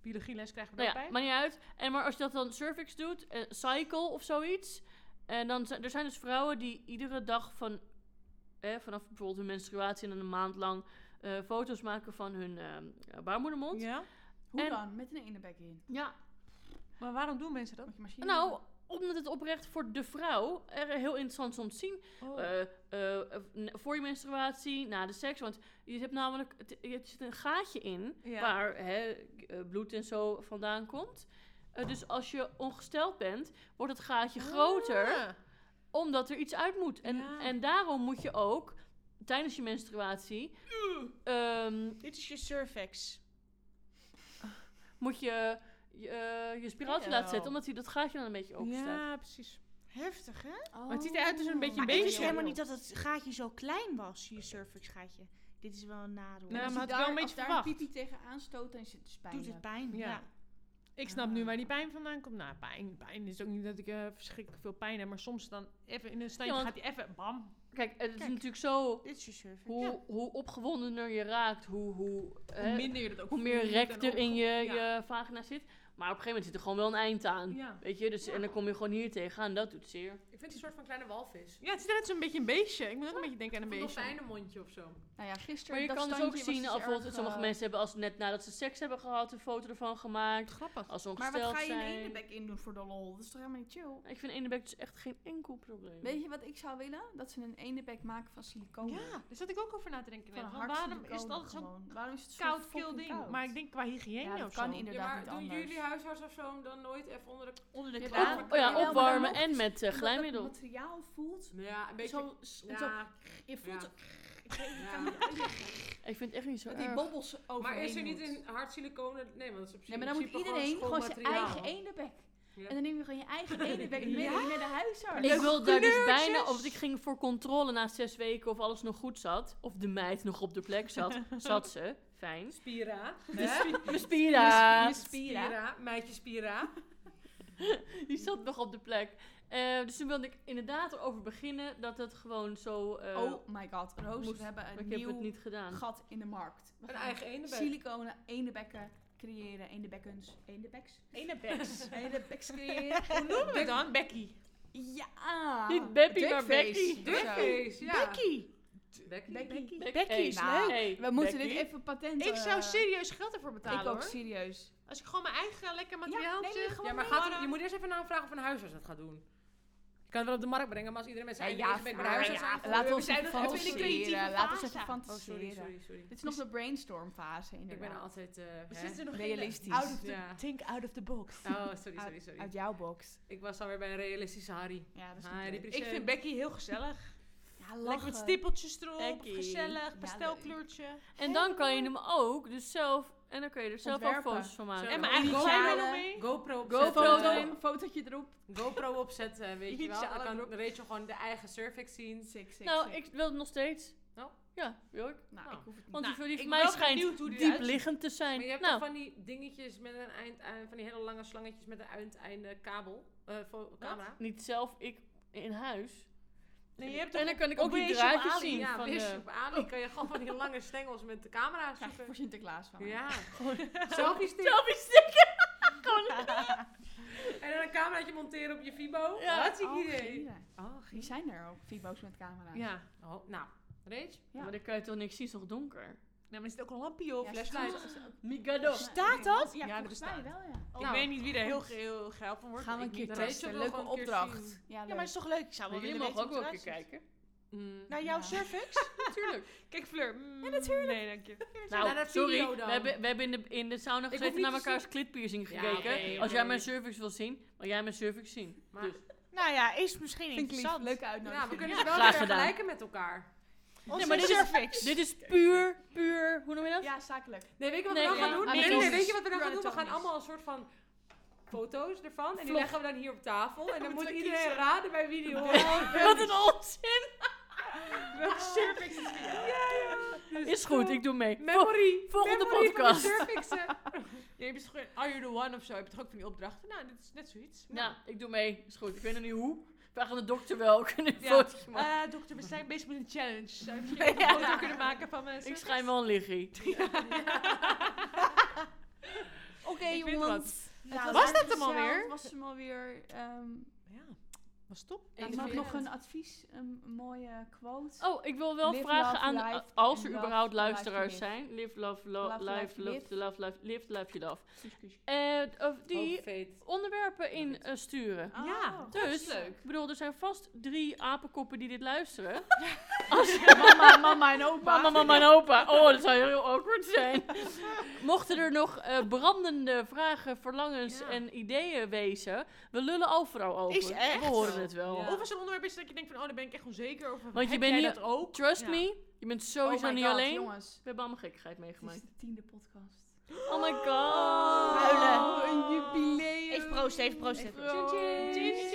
S3: Biologieles krijgen we
S5: Nou
S3: er ook
S5: ja,
S3: bij.
S5: maakt niet uit. En maar als je dat dan cervix doet, eh, cycle of zoiets. En dan zijn er zijn dus vrouwen die iedere dag van, eh, vanaf bijvoorbeeld hun menstruatie en dan een maand lang eh, foto's maken van hun eh, baarmoedermond. Ja.
S3: Ja.
S1: Hoe
S5: En-
S1: dan? Met een ene bek in.
S3: Maar waarom doen mensen dat?
S1: Met je machine.
S5: Nou, omdat het oprecht voor de vrouw er heel interessant is om te zien.
S3: Oh,
S5: Eh, eh, eh, n- voor je menstruatie, na de seks. Want je hebt namelijk, het, er zit een gaatje in.
S3: ja.
S5: waar hè, k- eh, bloed en zo vandaan komt. Eh, dus als je ongesteld bent, wordt het gaatje groter
S3: Ah.
S5: omdat er iets uit moet. En,
S3: Ja.
S5: en daarom moet je ook tijdens je menstruatie ehm,
S4: Dit is je cervix.
S5: moet je
S4: je, eh, je spiraaltje laat zetten, omdat hij dat gaatje dan een beetje open staat.
S3: Ja, precies.
S10: Heftig, hè?
S1: Oh.
S3: Maar het ziet eruit als een beetje
S10: Maar ik
S3: baby
S10: wist
S3: oil.
S10: helemaal niet dat het gaatje zo klein was, je cervix gaatje. Dit is wel een nadeel.
S3: Ja,
S1: Als je
S3: maar had ik wel
S1: daar-
S3: een beetje
S1: als daar
S3: verwacht.
S1: een pipi tegen aanstoot, dan zit het dus pijn.
S10: Doet het pijn? Ja.
S3: Ja. Ik snap
S5: Ah.
S3: nu waar die pijn vandaan komt. Nou, pijn, pijn. Het is ook niet dat ik eh, verschrikkelijk veel pijn heb, maar soms dan even in een standje
S4: Ja, want-
S3: gaat hij even bam.
S4: Kijk, het is
S10: Kijk.
S4: natuurlijk zo,
S10: Dit is je cervix.
S4: hoe, hoe opgewondener je raakt, hoe, hoe,
S3: Hoe
S5: Eh,
S4: hè,
S3: minder je dat ook
S4: hoe meer
S3: voelt
S4: rek
S3: en
S4: er in
S3: opge-
S4: je,
S3: ja.
S4: je vagina zit. Maar op een gegeven moment zit er gewoon wel een eind aan.
S3: Ja.
S4: Weet je, dus, en dan kom je gewoon hier tegenaan, dat doet zeer.
S5: Ik vind het een soort van kleine walvis.
S3: Ja, het ziet eruit als een beetje een beestje. Ik moet ook een beetje denken aan een
S5: Of een
S3: beestje.
S5: dolfijnenmondje of zo.
S1: Nou ja, gisteren
S4: Maar je
S1: dat
S4: kan dus ook
S1: standje was
S4: zien,
S1: dus
S4: als bijvoorbeeld
S1: erg,
S4: sommige
S1: eh,
S4: mensen hebben als net nadat ze seks hebben gehad, een foto ervan gemaakt.
S3: Grappig.
S4: Als ze
S1: Maar
S4: ongesteld
S1: wat ga je
S4: zijn.
S1: een eendebek in doen voor de lol? Dat is toch helemaal niet chill?
S4: Ik vind eendebek dus echt geen enkel probleem.
S1: Weet je wat ik zou willen? Dat ze een eendebek maken van siliconen.
S10: Ja.
S3: Daar zat ik ook over na te denken.
S1: Van
S3: net,
S1: een
S3: van
S1: hard
S3: waarom is het
S1: siliconen
S3: altijd zo'n
S1: gewoon. Waarom is het zo
S3: koud kill
S1: fucking
S3: ding?
S1: koud?
S3: Maar ik denk qua hygiëne
S1: Ja, dat
S3: of zo.
S1: kan inderdaad
S5: ja, maar
S1: niet
S5: doen
S1: anders.
S5: jullie huisarts of zo hem dan nooit even onder de...
S10: Onder de
S1: Ja,
S10: kraan.
S1: dat-
S4: Oh
S1: Jawel, maar
S4: ja,
S1: dan
S4: opwarmen
S1: nog
S4: en
S1: is-
S4: met eh,
S1: Omdat dat
S4: glijmiddel.
S1: materiaal voelt.
S5: Nou Ja, een beetje...
S1: Zo, s-
S5: ja,
S1: zo, je voelt
S5: ja.
S1: zo- je
S5: Ja.
S1: kan niet uit-
S4: Ik vind het echt niet zo
S1: dat die
S4: erg.
S1: bobbels over.
S5: Maar is er niet een hard siliconen... Nee, want dat is op zich
S1: Nee, maar dan moet iedereen gewoon zijn eigen eendebek.
S5: Ja.
S1: En dan neem je gewoon je eigen eendebek mee
S3: Ja?
S1: naar de huisarts.
S4: Ik wil daar dus bijna, of ik ging voor controle na zes weken of alles nog goed zat. Of de meid nog op de plek zat. Zat ze, fijn.
S5: Spira.
S4: Mijn spira.
S1: Je spieren.
S5: Spira, meidje Spira.
S4: Die zat nog op de plek. Eh, dus toen wilde ik inderdaad erover beginnen dat het gewoon zo... eh,
S1: Oh my god, Roos,
S4: moest-
S1: we hebben een
S4: maar ik heb het
S1: nieuw
S4: niet gedaan.
S1: gat in de markt. We
S5: Een
S1: gaan
S5: eigen eendebek.
S1: Siliconen, eendebekken creëren, eendebekkens, eendebeks.
S3: Ene beks.
S1: Eendebeks creëren.
S3: Hoe noemen we het dan? Becky.
S1: Ja!
S4: Niet Beppie, maar
S1: Duckface. Zo.
S5: Duckface, ja.
S10: Becky!
S5: Becky.
S1: Becky.
S10: Becky is
S1: nou,
S10: leuk.
S4: Hey,
S1: We moeten
S4: Becky.
S1: dit even patenten.
S3: Ik zou
S1: eh,
S3: serieus geld ervoor betalen
S1: Ik ook
S3: hoor.
S1: serieus.
S3: Als ik gewoon mijn eigen
S1: Ja,
S3: lekker materiaal
S1: nee,
S3: heb.
S1: nee,
S3: zeg.
S1: gewoon
S5: Ja, maar
S1: mee.
S5: gaat, je moet eerst even aanvragen of een huisarts dat gaat doen. Je kan het wel op de markt brengen, maar als iedereen met zijn
S1: Ja,
S5: eigen eendebek bij de
S1: maar
S5: huisarts
S1: ja,
S5: aanvoert,
S1: laten we
S5: we
S1: ons
S5: zijn
S1: even
S5: nog even in de creatieve
S1: fantaseren. Laten we
S3: fase.
S1: eens even
S3: Oh,
S5: Oh, sorry,
S1: fantaseren.
S5: sorry, sorry.
S1: Dit is nog de brainstormfase
S5: Ik ben
S1: inderdaad.
S5: altijd... eh,
S3: We
S5: hè?
S3: zitten nog
S1: Realistisch.
S3: in de- out of the-
S5: Ja.
S3: Think out of the box.
S5: Oh, sorry, sorry, sorry.
S1: Uit jouw box.
S5: Ik was alweer bij een realistische Harry.
S1: Ja, dat is
S5: Harry
S1: niet leuk.
S3: Ik
S5: Prinsé.
S3: vind Becky heel gezellig.
S1: Ja,
S3: Lekker
S1: lachen.
S3: met stippeltjes erop.
S4: Becky.
S1: Ja,
S3: Gezellig, pastelkleurtje.
S4: En dan kan je hem ook dus zelf... En dan kun je er zelf ook
S1: Ontwerpen.
S4: foto's van maken.
S5: Zo.
S3: En mijn
S5: Ja,
S3: eigen
S5: go-
S3: glijmiddel
S1: halen.
S3: mee.
S5: GoPro
S1: Een
S5: opzetten.
S1: foto,
S5: eh,
S1: een fotootje erop.
S5: GoPro opzetten, weet je wel.
S3: Initialen
S5: Dan kan
S3: erop.
S5: Rachel gewoon de eigen cervix zien.
S1: Sick, sick,
S4: nou,
S1: sick.
S4: ik wil het nog steeds.
S5: Oh.
S4: Ja, wil ik.
S1: Nou,
S5: nou,
S1: ik hoef het niet.
S4: Want
S3: Nou,
S4: die, die
S3: ik
S4: van
S3: ben
S4: mij
S3: wel
S4: schijnt
S3: benieuwd hoe die
S4: diep
S3: eruit ziet.
S4: liggend te
S5: Maar
S4: zijn.
S5: je hebt
S4: nou,
S5: toch van die dingetjes met een eind, eh, van die hele lange slangetjes met een eindeinde kabel, eh, voor camera.
S4: niet zelf, ik in huis.
S3: Nee, je hebt
S4: en
S3: toch
S4: dan kan ik
S3: op
S4: ook die
S3: Wish of
S4: draadjes
S3: Ali.
S4: zien.
S5: ja,
S4: van,
S5: wist
S4: eh,
S5: je, op Ali kan je gewoon van die lange stengels met de camera
S1: Nou, Krijg je
S5: zoeken.
S1: voor Sinterklaas van. mij.
S5: Ja, selfie stick.
S4: Selfie stick.
S5: En dan een cameraatje monteren op je Fibo.
S4: Ja.
S5: Wat zie
S1: Oh,
S5: ik idee.
S1: genieten.
S5: Oh,
S1: Die zijn er ook, Fibo's met camera.
S3: Ja.
S5: Oh, nou, Rach?
S1: Ja.
S4: Maar dan kan je toch niks zien, is toch donker?
S3: Nou, maar er zit ook een lampje op.
S1: Ja,
S5: Flashlight.
S1: volgens- volgens-
S4: Migado.
S10: Staat dat?
S1: Ja,
S3: Ja, er
S1: volgens mij
S3: bestaat.
S1: wel, ja.
S3: Ik
S5: Nou,
S3: weet niet wie er heel, heel geil van wordt.
S1: Gaan we
S3: Ik
S1: een keer
S3: niet.
S5: Rachel
S1: testen.
S5: wil
S1: Leuke
S5: gewoon een keer
S1: opdracht.
S5: zien.
S1: Ja,
S10: Ja, maar
S1: leuk.
S10: het is toch leuk? Ik zou wel
S4: Jullie
S10: willen
S4: mogen
S10: weten
S4: ook
S10: hoe
S4: wel
S10: het
S4: een keer
S10: eruit ziet.
S4: kijken.
S5: Mm.
S10: Naar jouw
S1: Ja.
S10: cervix?
S4: Natuurlijk.
S3: Kijk, Fleur. ja, natuurlijk. Nee, dank je.
S5: Naar
S4: Nou,
S5: dat
S4: sorry.
S5: video
S4: We
S5: dan.
S4: hebben, we hebben in, de, in de sauna
S5: hoef
S4: gezeten
S5: niet
S4: naar
S5: te
S4: elkaars clitpiercing
S5: Ja,
S4: gekeken.
S5: oké,
S4: Als jij
S5: oké.
S4: mijn cervix wil zien, wil jij mijn cervix zien.
S5: Maar-
S4: Dus.
S10: Nou ja, is misschien interessant.
S1: Leuke
S5: ja, we
S1: uitnodiging.
S5: kunnen
S4: Ja,
S5: ze wel
S4: graag
S5: weer
S4: gedaan.
S5: vergelijken met elkaar.
S10: Onze
S4: maar dit is-
S10: cervix.
S4: Dit is puur, puur, hoe noem je dat?
S1: Ja, zakelijk.
S5: Nee, weet je wat
S4: Nee,
S5: we dan
S4: ja.
S5: gaan doen?
S4: Ah,
S5: Nee,
S4: nee,
S5: nee,
S4: nee.
S5: weet je wat we dan gaan doen? We gaan
S1: Anatomisch.
S5: allemaal een soort van foto's ervan. En die
S4: Vlog.
S5: leggen we dan hier op tafel. En dan moet
S3: moeten we
S5: iedereen
S3: kiezen.
S5: raden bij wie die hoort.
S4: Wat een onzin!
S5: Welke cervix is wie?
S4: Is goed, ik doe mee.
S5: Memory.
S4: volgende
S5: Memory
S4: podcast.
S5: Van de cervixen.
S3: Je hebt toch gewoon Are You The One of zo. Heb je toch ook van die opdrachten? Nou, dit is net zoiets.
S4: Nou, ik doe mee. Is goed. Ik weet nog niet hoe. Vraag aan de dokter wel. Kunnen we een
S3: Ja.
S4: fotootje maken?
S3: Eh, dokter, we zijn bezig met een challenge. Zou ik je een foto kunnen maken van mijn
S4: Ik
S3: cervix?
S4: schijn wel een liggie.
S1: Oké,
S3: Ik vind
S1: jongens.
S10: Nou,
S3: was dat hem alweer?
S1: was hem alweer. ehm
S3: Ja, was top.
S1: ik had nog een advies, een mooie quote.
S4: Oh, ik wil wel
S1: Live,
S4: vragen
S1: love,
S4: aan,
S1: life,
S4: als er
S1: and love,
S4: überhaupt
S1: life you
S4: luisteraars
S1: live.
S4: zijn. Live, love, lo-
S1: Love,
S4: life,
S1: life,
S4: love,
S1: live.
S4: the love, life, live, love, you love. Eh, of die
S5: Oh, fate.
S4: onderwerpen in eh, sturen.
S1: Oh.
S3: Ja,
S4: Dus,
S3: leuk.
S4: ik bedoel, er zijn vast drie apenkoppen die dit luisteren.
S1: mama, mama en opa.
S4: Mama, mama en opa. Oh, dat zou heel awkward zijn. Mochten er nog eh, brandende vragen, verlangens
S5: Ja.
S4: en ideeën wezen, we lullen overal over.
S10: Is echt?
S4: We horen het wel.
S5: Ja.
S3: Of als er een onderwerp is dat je denkt van, oh, daar ben ik echt onzeker over.
S4: Want je
S3: heb
S4: bent
S3: jij
S4: niet-
S3: dat ook?
S4: Trust
S3: Ja.
S4: me, je bent
S1: Oh my
S4: sowieso niet
S1: god,
S4: alleen.
S1: jongens.
S4: We hebben allemaal gekkigheid
S1: Dit is
S4: meegemaakt.
S1: de tiende podcast.
S4: Oh my god.
S1: Huilen.
S4: Oh,
S1: Een
S11: Proost, even proost.
S1: Tjin, tjin.